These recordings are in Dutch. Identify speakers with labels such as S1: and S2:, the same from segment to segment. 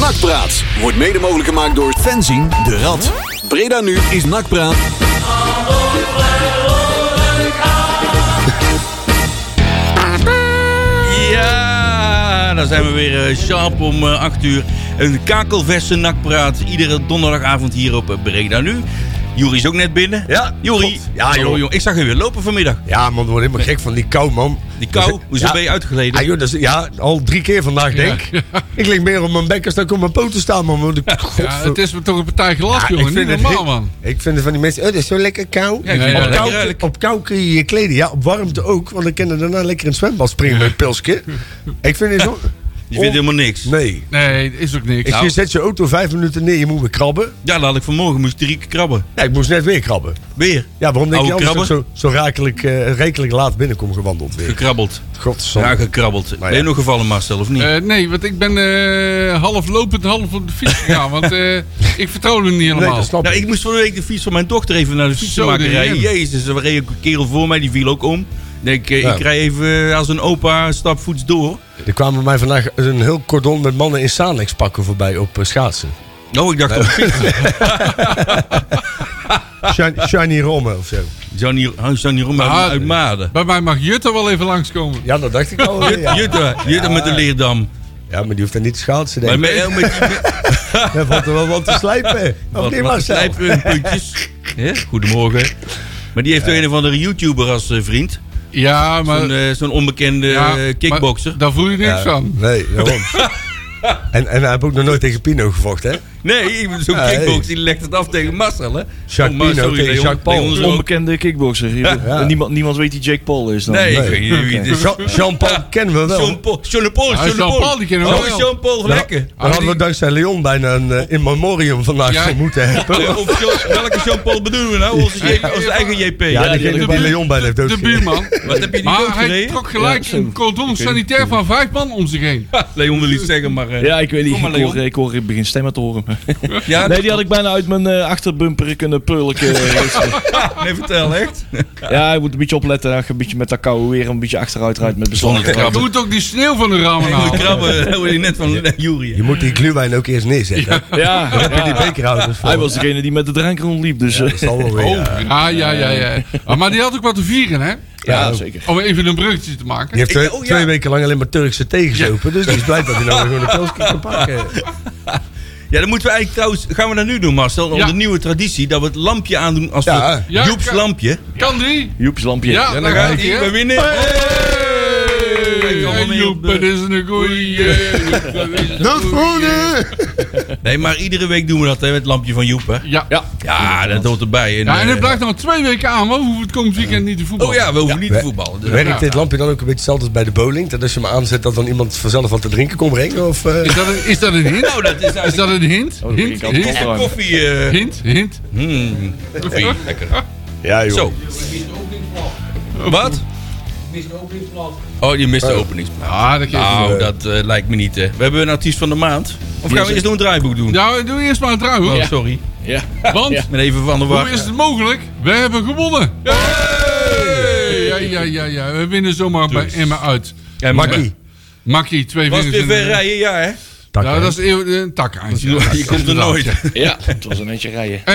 S1: Nakpraat wordt mede mogelijk gemaakt door Fenzin de Rad. Breda nu is Nakpraat.
S2: Ja, daar zijn we weer eh, sharp om eh, 8 uur. Een kakelverse nakpraat. Iedere donderdagavond hier op eh, Breda nu. Jury is ook net binnen.
S3: Ja,
S2: Jury.
S3: klopt. Ja,
S2: Hallo,
S3: joh.
S2: jong. Ik zag je weer lopen vanmiddag.
S3: Ja, man, word helemaal gek van die kou, man.
S2: Die kou, hoezo
S3: Ja.
S2: ben je uitgeleden?
S3: Ja, joh, dat is, ja, al drie keer vandaag, denk ik. Ik lig meer op mijn bek als dat ik op mijn poten sta, man. Want ik,
S4: Ja, het is me toch een partij glas,
S3: Ja,
S4: jongen. Niet normaal,
S3: heel-
S4: man.
S3: Ik vind het van die mensen, oh, dat is zo lekker koud.
S2: Ja, ik vind
S4: Ja,
S2: het wel
S3: op, kou,
S2: lekker ruilijk.
S3: op kou kun je je kleden, ja. Op warmte ook, want dan kan je daarna lekker in het zwembad springen met een pilsje. Ik vind het zo... Oh,
S2: Je vindt helemaal Nou. niks.
S3: Nee.
S4: Nee, is ook niks.
S3: Ik, je zet je auto vijf minuten neer, je moet weer krabben.
S2: Ja, dat had ik vanmorgen. Moest ik drie keer krabben.
S3: Ja, ik moest net weer krabben.
S2: Weer.
S3: Ja, waarom denk
S2: Oude
S3: je anders dat ik
S2: krabber?
S3: zo, zo rakelijk, eh, rekelijk laat binnenkom gewandeld weer?
S2: Gekrabbeld.
S3: Godzang.
S2: Ja, gekrabbeld. Ben je
S3: ja.
S2: nog gevallen, Marcel, of niet?
S4: Eh, nee, want ik ben eh, half lopend, half op de fiets gegaan. want eh, ik vertrouw hem niet
S3: Nee,
S4: helemaal.
S3: dat snap
S2: Nou,
S3: ik.
S2: ik moest van de week de fiets van mijn dochter even naar de
S4: Zo,
S2: fietsenmakerij.
S4: de
S2: Jezus, er reed ook een kerel voor mij, die viel ook om. Ik Denk, eh,
S3: Ja.
S2: ik rij even eh, als een opa stapvoets door.
S3: Er kwamen mij vandaag een heel cordon met mannen in Sanix pakken voorbij op eh, schaatsen.
S2: Oh, ik dacht, oh,
S3: Shiny, Shiny Rome of zo.
S2: Johnny, oh, Johnny Rome uit-
S4: Ah,
S2: uit Maden.
S4: Bij mij mag Jutta wel even langskomen.
S3: Ja, dat dacht ik al. Ja.
S2: Jutta, Jutta met de leerdam.
S3: ja, maar die hoeft daar niet te schaatsen,
S2: Maar
S3: denk ik.
S2: met, eh, met die-
S3: Daar valt er wel wat te slijpen. Of
S2: wat-
S3: niet,
S2: wat
S3: Marcel?
S2: knijppuntjes. Hè? Goedemorgen. Maar die heeft een of andere YouTuber als eh, vriend.
S4: Ja, maar...
S2: Zo'n eh, zo'n onbekende
S4: ja,
S2: eh, kickbokser.
S4: maar daar voel je niks
S3: Ja,
S4: van.
S3: Nee, daarom. En, en hij heeft ook nog nooit tegen Pino gevochten, hè?
S2: Nee, ik- zo'n
S3: Ja, hey.
S2: kickboxer die legt het af tegen Marcel, hè?
S3: Jacques
S2: Oh, maar
S3: Pino
S2: sorry,
S3: tegen
S2: Leon.
S3: Jacques Paul.
S2: Leon is
S5: Een
S2: ook-
S5: onbekende kickbokser. Niemand, niemand weet wie Jake Paul is dan.
S2: Nee, ik
S3: Nee.
S2: weet niet wie het is.
S3: Jean- Jean-Paul kennen we wel.
S2: Jean-Paul, Jean-Paul,
S4: Ah, Jean-Paul, die kennen we
S2: Oh,
S4: wel.
S2: Jean-Paul Vlekken.
S3: Daar hadden we dankzij Leon bijna een eh, in memoriam vandaag
S4: Ja.
S3: voor moeten hebben.
S2: Eh, Of Jean- welke Jean-Paul bedoelen we nou? Onze, J- onze eigen JP.
S3: Ja,
S5: die
S3: degene
S5: hadden
S3: die
S5: we-
S3: Leon bijna heeft
S4: De
S3: doodgereden.
S4: buurman.
S2: Wat heb je die dood
S4: Maar hij
S2: gereden?
S4: trok gelijk
S5: Ja, zo.
S4: een cordon sanitair van vijf man om zich heen.
S2: Leon wil iets zeggen, maar... eh,
S5: Ja, ik weet niet.
S2: Kom maar,
S5: ik, hoor,
S2: Leon.
S5: ik hoor- ik begin stemmen te horen.
S2: Ja,
S5: Nee, die had ik bijna uit mijn eh, achterbumper kunnen purlijken.
S2: nee, vertel, echt.
S5: ja, je moet een beetje opletten. hè. Een beetje met dat koude weer een beetje achteruit rijdt met beslag.
S2: Zonder te
S4: Je
S2: krabben.
S4: moet ook die sneeuw van de ramen
S2: Ik moet
S4: halen.
S2: krabben, dat hoor je net van Jurie.
S3: Je moet die gluwijn ook eerst neerzetten. hè?
S5: Ja,
S3: Heb je die
S5: ja.
S3: bekerhouders voor?
S5: Hij was degene die met de drank rondliep. Dus, eh,
S3: Dat zal wel weer.
S4: Oh, ja, ja, ja, ja. Ah, Maar die had ook wat te vieren, hè?
S5: ja, zeker.
S4: Om even een bruggetje te maken.
S3: Die heeft
S2: Ik-
S3: twee,
S2: oh, ja.
S3: twee weken lang alleen maar Turkse tegenzopen. Dus die is blij dat hij nou weer gewoon een pilsje kan pakken.
S2: Ja, dan moeten we eigenlijk trouwens... Gaan we dat nu doen, Marcel? Om
S4: Ja.
S2: de nieuwe traditie dat we het lampje aandoen als
S3: Ja.
S2: we-
S4: Ja,
S2: Joep's
S4: kan-
S2: lampje.
S4: Kan die?
S5: Joep's lampje.
S4: Ja, dan
S2: Dan
S4: gaat
S2: gaat
S4: hij.
S2: hij. We
S4: hè?
S2: winnen.
S4: Hey,
S2: Ik allemaal mee
S4: Joep,
S2: op de-
S4: dat is een goeie. Joep, dat is een
S3: Dat
S4: goeie.
S3: voelde!
S2: Nee, maar iedere week doen we dat, hè. Met het lampje van Joep, hè.
S4: Ja.
S5: Ja.
S2: Ja, dat hoort erbij.
S4: ja, en
S2: eh,
S4: het blijft nog twee weken aan, want we hoeven het komend weekend niet te voetballen.
S2: Oh ja, we hoeven niet te voetballen. Dus-
S3: Werkt dit lampje dan ook een beetje hetzelfde als bij de bowling? Dat als je hem aanzet, dat dan iemand vanzelf wat te drinken komt brengen? Of, eh?
S4: Is dat een, is dat een hint?
S2: Nou, Oh, dat is
S4: Is
S2: eigenlijk...
S4: dat een hint?
S5: dat
S4: Hint,
S5: vind ik
S4: hint,
S5: altijd wel.
S2: Koffie... eh,
S4: hint, hint.
S2: Mm, koffie, lekker.
S3: Ja, joh.
S2: Zo. Wat? Oh, je mist de openingsplaat.
S4: Ja, dat geeft
S2: Nou,
S4: wel.
S2: dat eh, lijkt me niet. hè. We hebben een artiest van de maand. Of gaan we eerst nog een draaiboek doen?
S4: Nou, doe eerst maar een trui, hoor.
S2: Oh, sorry.
S5: Ja.
S4: Want,
S2: Ik ben even van de war.
S4: hoe is het mogelijk? We hebben gewonnen. Ja, ja, ja, ja. We winnen zomaar bij Emma uit.
S2: Ja, maar-
S3: Makkie.
S4: Makkie, twee
S2: Dus. Was
S4: vingers
S2: weer
S4: in
S2: ver
S4: de-
S2: rijden, ja hè?
S3: Takken,
S4: Nou,
S3: hè?
S4: dat is eeuw- een tak aan.
S2: Je komt er nooit.
S5: Ja, het was een netje rijden.
S4: Eh,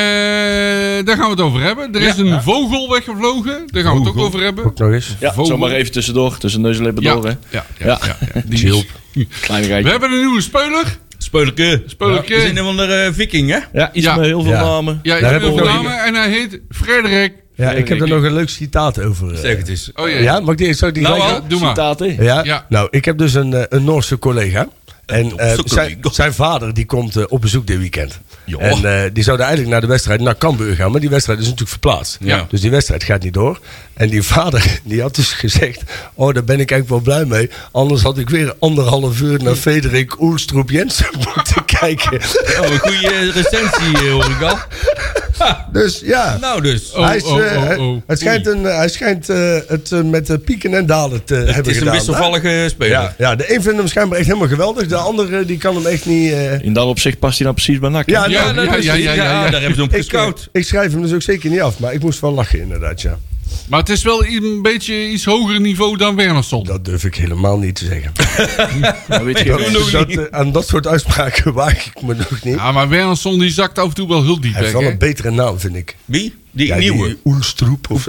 S4: daar gaan we het over hebben. Er is een vogel weggevlogen. Daar gaan we het ook over hebben.
S3: Ook nog eens.
S5: Ja,
S4: Vogel.
S5: zomaar even tussendoor. Tussen neus en lippen door, hè.
S4: Ja, ja, ja, ja, ja. Die is-
S5: Kleinigheid.
S4: We hebben een nieuwe speler.
S2: Speulke.
S4: Speulke.
S2: We zijn een van de eh, viking hè?
S5: Ja, iets
S4: Ja.
S5: met heel veel
S3: Ja.
S5: namen.
S4: Ja,
S3: Daar
S4: ik
S3: heb
S4: wil
S3: ik nog
S4: namen en hij heet Frederik.
S3: Ja, ik heb er nog een leuk citaat over. eh.
S2: Zeg het eens.
S4: Oh ja.
S3: Ja, mag ik die, zou ik die
S2: Nou,
S3: gelijk-
S2: al.
S4: doe maar.
S5: Citaten.
S3: Ja?
S4: Ja.
S3: Nou, ik heb dus een, eh, een Noorse collega. En eh,
S2: Noorse
S3: zijn,
S2: collega.
S3: zijn vader die komt eh, op bezoek dit weekend.
S2: Joh.
S3: En eh, die zouden eigenlijk naar de wedstrijd naar Cambuur gaan. Maar die wedstrijd is natuurlijk verplaatst.
S2: Ja.
S3: Dus die wedstrijd gaat niet door. En die vader die had dus gezegd... Oh, daar ben ik eigenlijk wel blij mee. Anders had ik weer anderhalf uur naar Frederik Oelstroep Jensen moeten kijken.
S2: Oh, een goede eh, recensie eh, hoor ik al.
S3: Dus ja...
S2: Nou dus.
S4: Oh,
S3: hij, is,
S4: oh,
S3: eh,
S4: oh, oh.
S3: Het schijnt, een, eh, hij schijnt eh, het eh, met eh, pieken en dalen te hebben
S2: Het is een
S3: gedaan.
S2: wisselvallige
S3: Ja,
S2: speler.
S3: ja, de een vindt hem schijnbaar echt helemaal geweldig. De andere die kan hem echt niet... eh,
S5: In dat opzicht past hij nou precies bij NAC. hè?
S3: Ja, nou,
S2: Ja,
S4: Ja,
S2: dat
S4: ja,
S2: is-
S4: ja, ja,
S2: ja,
S4: ja.
S2: daar hebben ze om
S3: ik, eh,
S2: gescout.
S3: ik schrijf hem dus ook zeker niet af. Maar ik moest wel lachen inderdaad, ja.
S4: Maar het is wel i- een beetje iets hoger niveau dan Wernersson.
S3: Dat durf ik helemaal niet te zeggen.
S5: Dat weet je
S3: Dat,
S5: ook.
S2: nog
S3: dat,
S2: niet.
S3: eh, aan dat soort uitspraken waag ik me nog niet.
S4: Ja, maar Wernersson die zakt af en toe wel heel diep
S3: Hij heeft
S4: weg.
S3: wel
S4: hè?
S3: een betere naam, vind ik.
S2: Wie? Die
S3: Ja,
S2: nieuwe.
S3: die Oelstroep of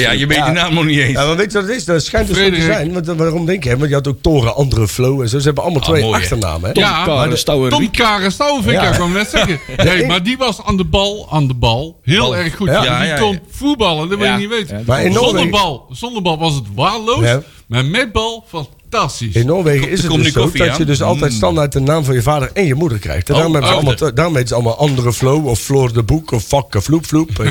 S2: Ja, je weet de naam nog niet eens.
S3: Ja, maar weet je wat het is? Dat schijnt dus zo te
S4: Frederik.
S3: zijn. Want, eh, waarom denk je? hè? Want je had ook Toren, andere Flow en zo. Ze hebben allemaal twee
S2: Ah, mooi, hè?
S3: achternamen. Hè?
S4: Ja,
S5: Karel
S4: maar de-
S5: Stouwenwiek.
S4: Tom Karel Stouwenwiek,
S3: Ja.
S4: ja. ik wou net zeggen. Nee, maar die was aan de bal, aan de bal, heel
S2: Bal.
S4: erg goed.
S3: Ja.
S4: Die
S2: Ja, ja,
S4: kon
S2: ja.
S4: voetballen, dat wil
S5: Ja.
S4: je niet weten.
S5: Ja,
S3: Maar in
S4: zonder,
S3: Noorwegen-
S4: bal, zonder bal was het waardeloos,
S3: Ja.
S4: maar met bal fantastisch.
S3: In Noorwegen is het
S2: komt
S3: dus
S2: nu
S3: zo
S2: koffie
S3: dat
S2: aan. Mm.
S3: je dus altijd standaard de naam van je vader en je moeder krijgt. En
S2: Oh,
S3: daarom, hebben ze
S2: oh,
S3: allemaal, daarom heet ze allemaal andere Flow of Floor de Boek of Vakken Vloep Vloep.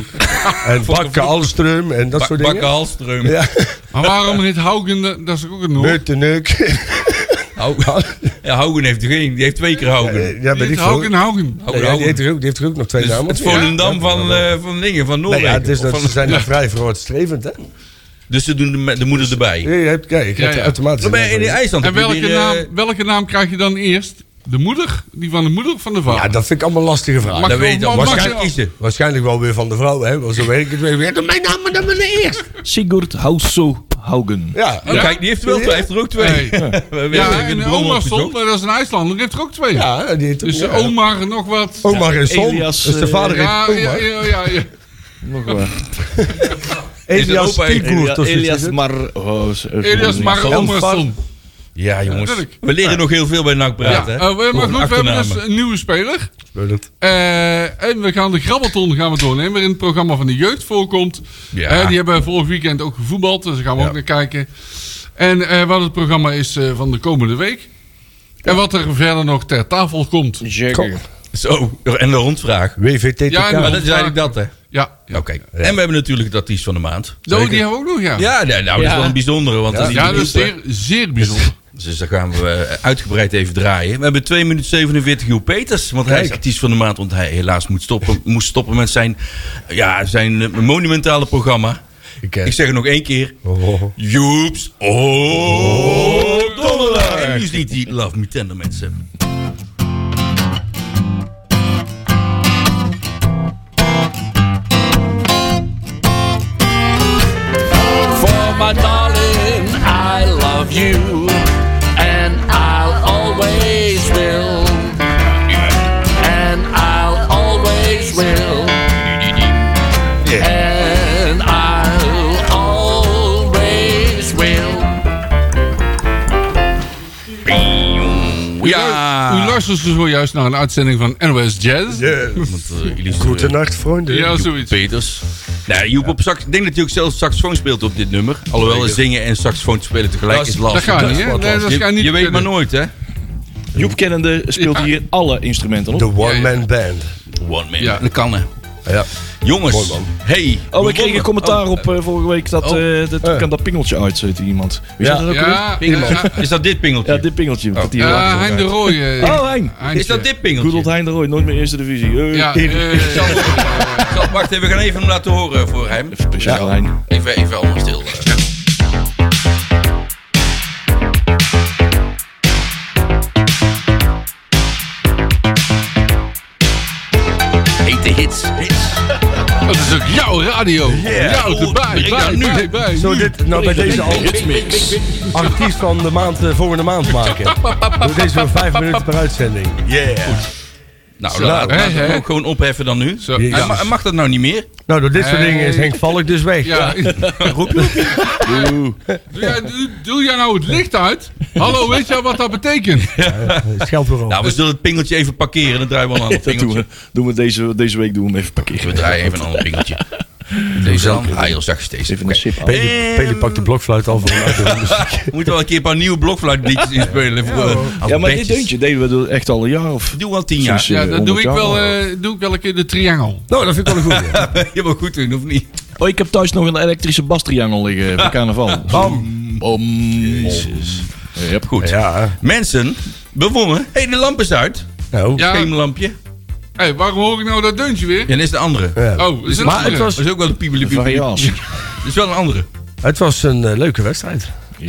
S3: En, en Bakken Alstrum en dat
S2: Ba-
S3: soort
S2: Bakke
S3: dingen.
S2: Halstreum.
S3: Ja,
S4: Maar waarom heet Haugen, eh, dat is ook een Noor.
S3: Meut de Neuk.
S2: Hau- Ja, Haugen heeft er geen. Die heeft twee keer Haugen.
S3: Ja,
S4: Die
S3: ben ik
S4: heet
S3: veel.
S4: Haugen, Haugen.
S3: Nee,
S2: Haugen,
S3: ja, die,
S2: Haugen.
S3: heeft er ook, die heeft er ook nog twee
S2: Dus
S3: namen.
S2: het
S3: Ja.
S2: Volendam van, eh, van dingen, van
S3: Nee,
S2: Noorwegen.
S3: ja, het is, dat-
S2: Of
S3: ze
S2: van-
S3: zijn vrij vooruitstrevend, hè?
S2: Dus ze doen de, me- de moeder
S3: Je
S2: erbij.
S3: hebt, kijk, je krijgt
S4: Ja, ja.
S3: automatisch...
S2: Maar bij- in
S3: een-
S2: IJsland heb
S4: En
S2: je
S4: welke
S2: die, eh,
S4: naam, welke naam krijg je dan eerst? De moeder? Die van de moeder of van de vader?
S3: Ja, dat vind ik allemaal lastige vragen.
S4: Mag-
S2: Dat weet je dan.
S4: mag-
S2: Mag je
S4: mag-
S2: kiezen.
S3: Waarschijnlijk wel weer van de vrouw, hè? Want zo werkt het weer. Mijn naam, mijn naam, mijn eerst.
S5: Sigurd Hauso Haugen.
S3: Ja,
S2: Oh, kijk, die heeft er wel twee. Hij heeft er ook twee.
S4: Nee.
S2: We- we- we-
S4: Ja,
S2: we- we-
S4: en eh,
S2: de bron
S4: oma
S2: opgezocht.
S4: stond, maar dat is een IJslander, die heeft er ook twee.
S3: ja, die heet ook-
S4: Dus de
S3: ja.
S2: oh,
S4: oma nog wat.
S3: Omar is Son.
S5: Elias,
S3: dus de
S5: eh,
S3: vader
S4: Ja,
S3: heet
S4: ja,
S3: Omar.
S4: ja, ja, ja.
S5: Nog wel.
S3: Elias
S2: opa heet
S3: Stiekoert of zoiets is
S5: Elias
S3: het?
S5: Mar... Oh, is-
S4: Elias Mar
S5: Jan Var-
S4: Omerson.
S2: Ja, jongens.
S4: Natuurlijk.
S2: We leren nog heel veel bij NAC
S4: Ja,
S2: praten. hè?
S4: eh, we- maar
S2: Over
S4: goed, we hebben dus
S2: achternamen.
S4: een nieuwe speler.
S3: Weet het.
S4: Eh, en we gaan de grabbelton gaan we doornemen, waarin het programma van de jeugd voorkomt.
S2: Ja.
S4: Eh, die hebben vorig weekend ook gevoetbald, dus daar gaan we
S3: Ja.
S4: ook naar kijken. En eh, wat het programma is eh, van de komende week. En wat er verder nog ter tafel komt.
S5: Jagger.
S2: Zo, en de rondvraag.
S3: WVTTK.
S4: Ja,
S2: Ja,
S4: en-
S2: maar dat is eigenlijk dat, hè?
S4: Ja,
S2: Nou, kijk. En we hebben natuurlijk het artiest van de maand.
S4: Zo, die hebben we ook nog, ja.
S2: Ja, nee, nou, dat is
S5: Ja.
S2: wel een bijzondere. Want dat is niet
S4: Ja,
S2: de
S4: dat is
S2: minste.
S4: zeer, zeer bijzonder.
S2: Dus daar gaan we eh, uitgebreid even draaien. We hebben 2 minuten 47 Joep Peters. Want hij is
S3: Kijk.
S2: artiest van de maand. Want hij helaas moet stoppen, moest stoppen met zijn, ja, zijn eh, monumentale programma.
S3: Ik, eh,
S2: Ik zeg het nog één keer.
S3: oh,
S2: Joeps oh, dollar. En nu is niet die Love Me Tender mensen.
S6: For my darling, I love you, and I'll always will, and I'll always will, and I'll always will.
S4: U
S2: Ja.
S4: luistert dus zojuist naar een uitzending van NOS Jazz.
S3: yes.
S2: Want, eh, jullie zijn-
S3: Goedenacht, vrienden.
S4: Ja,
S2: Joep
S4: zoiets.
S2: Peters. Nou, Joep op sax. Ik denk dat hij ook zelf saxofoon speelt op dit nummer. Alhoewel zingen en saxofoon spelen tegelijk is
S4: Dat
S2: lastig.
S4: gaat niet, hè? Nee, dat gaat
S2: je
S4: niet
S2: je weet maar
S4: kunnen.
S2: nooit, hè?
S5: Joep Kennende speelt hier alle instrumenten op.
S3: De one-man band.
S2: One man.
S4: Ja.
S2: Dat kan, hè?
S3: Ja.
S2: Jongens, hey.
S5: Oh,
S2: we
S5: ik kreeg
S2: wonnen.
S5: een commentaar
S2: Oh,
S5: op eh, vorige week dat,
S2: Oh.
S5: eh, dat
S3: Eh.
S5: kan dat pingeltje uitzetten iemand. Weet
S3: Ja.
S5: je dat ook weer?
S4: Ja, ja,
S2: Oh, Is dat dit pingeltje?
S5: Ja, dit pingeltje. dat die
S4: ja,
S5: later
S4: Hein de
S5: draait.
S4: Rooij. eh,
S5: Oh, Hein.
S4: Heintje.
S2: Is dat dit
S5: Goedelt
S2: pingeltje?
S5: Hein de Rooij, nooit meer eerste divisie. Eh,
S4: Ja, eh,
S2: Zal- Wacht even, we gaan even hem laten horen voor hem.
S5: Speciaal Hein.
S2: Even, even allemaal stil. eh. Hete hits. hits.
S4: dat is ook jouw radio. Jouw
S2: Oh,
S4: erbij,
S2: breng dat
S4: bij,
S2: nu.
S4: bij, bij.
S3: Zo
S4: nu.
S3: dit nou bij deze al artiest van de maand, eh, volgende maand maken? Doe deze wel vijf minuten per uitzending.
S2: Yeah. Nou, laat-
S4: hè,
S2: laten we hem
S4: hè.
S2: ook gewoon opheffen dan nu.
S4: Zo.
S2: Hij ma-
S4: Ja.
S2: hij mag dat nou niet meer?
S3: Nou, door dit soort
S4: Hey.
S3: dingen is Henk Valk dus weg.
S4: Ja. Doe jij- doe- Doe jij nou het licht uit? Hallo, weet jij wat dat betekent?
S3: Scheld weer op.
S2: Nou, we zullen het pingeltje even parkeren. Dan draaien we een ander
S5: Dat doen
S2: pingeltje.
S5: we, doen we deze, deze week doen we hem even
S2: We
S5: parkeren.
S2: draaien even een ander pingeltje. Deze dan? Ah, heel zachtjes deze.
S5: Even
S2: Oké.
S5: een
S2: Eh,
S5: sip aan.
S3: Peli, Peli pakt de blokfluit al voor een achtergrondmuziek.
S2: We moeten wel een keer een paar nieuwe blokfluitliedjes inspelen. Voor, eh, als
S5: Ja, maar dit
S2: bedjes.
S5: deuntje deden we dus echt al een jaar of...
S2: Doe al tien
S5: sinds,
S2: jaar.
S5: eh,
S4: Ja, dan doe
S5: 100
S4: ik
S5: jaar
S4: wel,
S5: al.
S4: eh, doe ik wel een keer de triangel.
S3: Nou, dat vind ik wel een goeie.
S2: Je mag goed doen, of niet?
S5: Oh, ik heb thuis nog een elektrische bastriangel liggen voor carnaval.
S3: Oh.
S5: Bam. Bam.
S2: Ja, goed.
S3: Ja,
S2: Mensen, we wonnen. Hé, hey, de lamp is uit.
S3: nou.
S4: Ja.
S2: Geen lampje.
S4: Hé, waarom hoor ik nou dat deuntje weer?
S2: En dit is de andere.
S3: Ja.
S4: Oh, is het
S3: Maar het
S4: andere?
S3: was,
S2: Dat is ook wel een piebele
S5: Variaas.
S2: Dat is wel een andere.
S3: het was een eh, leuke wedstrijd.
S4: Eh,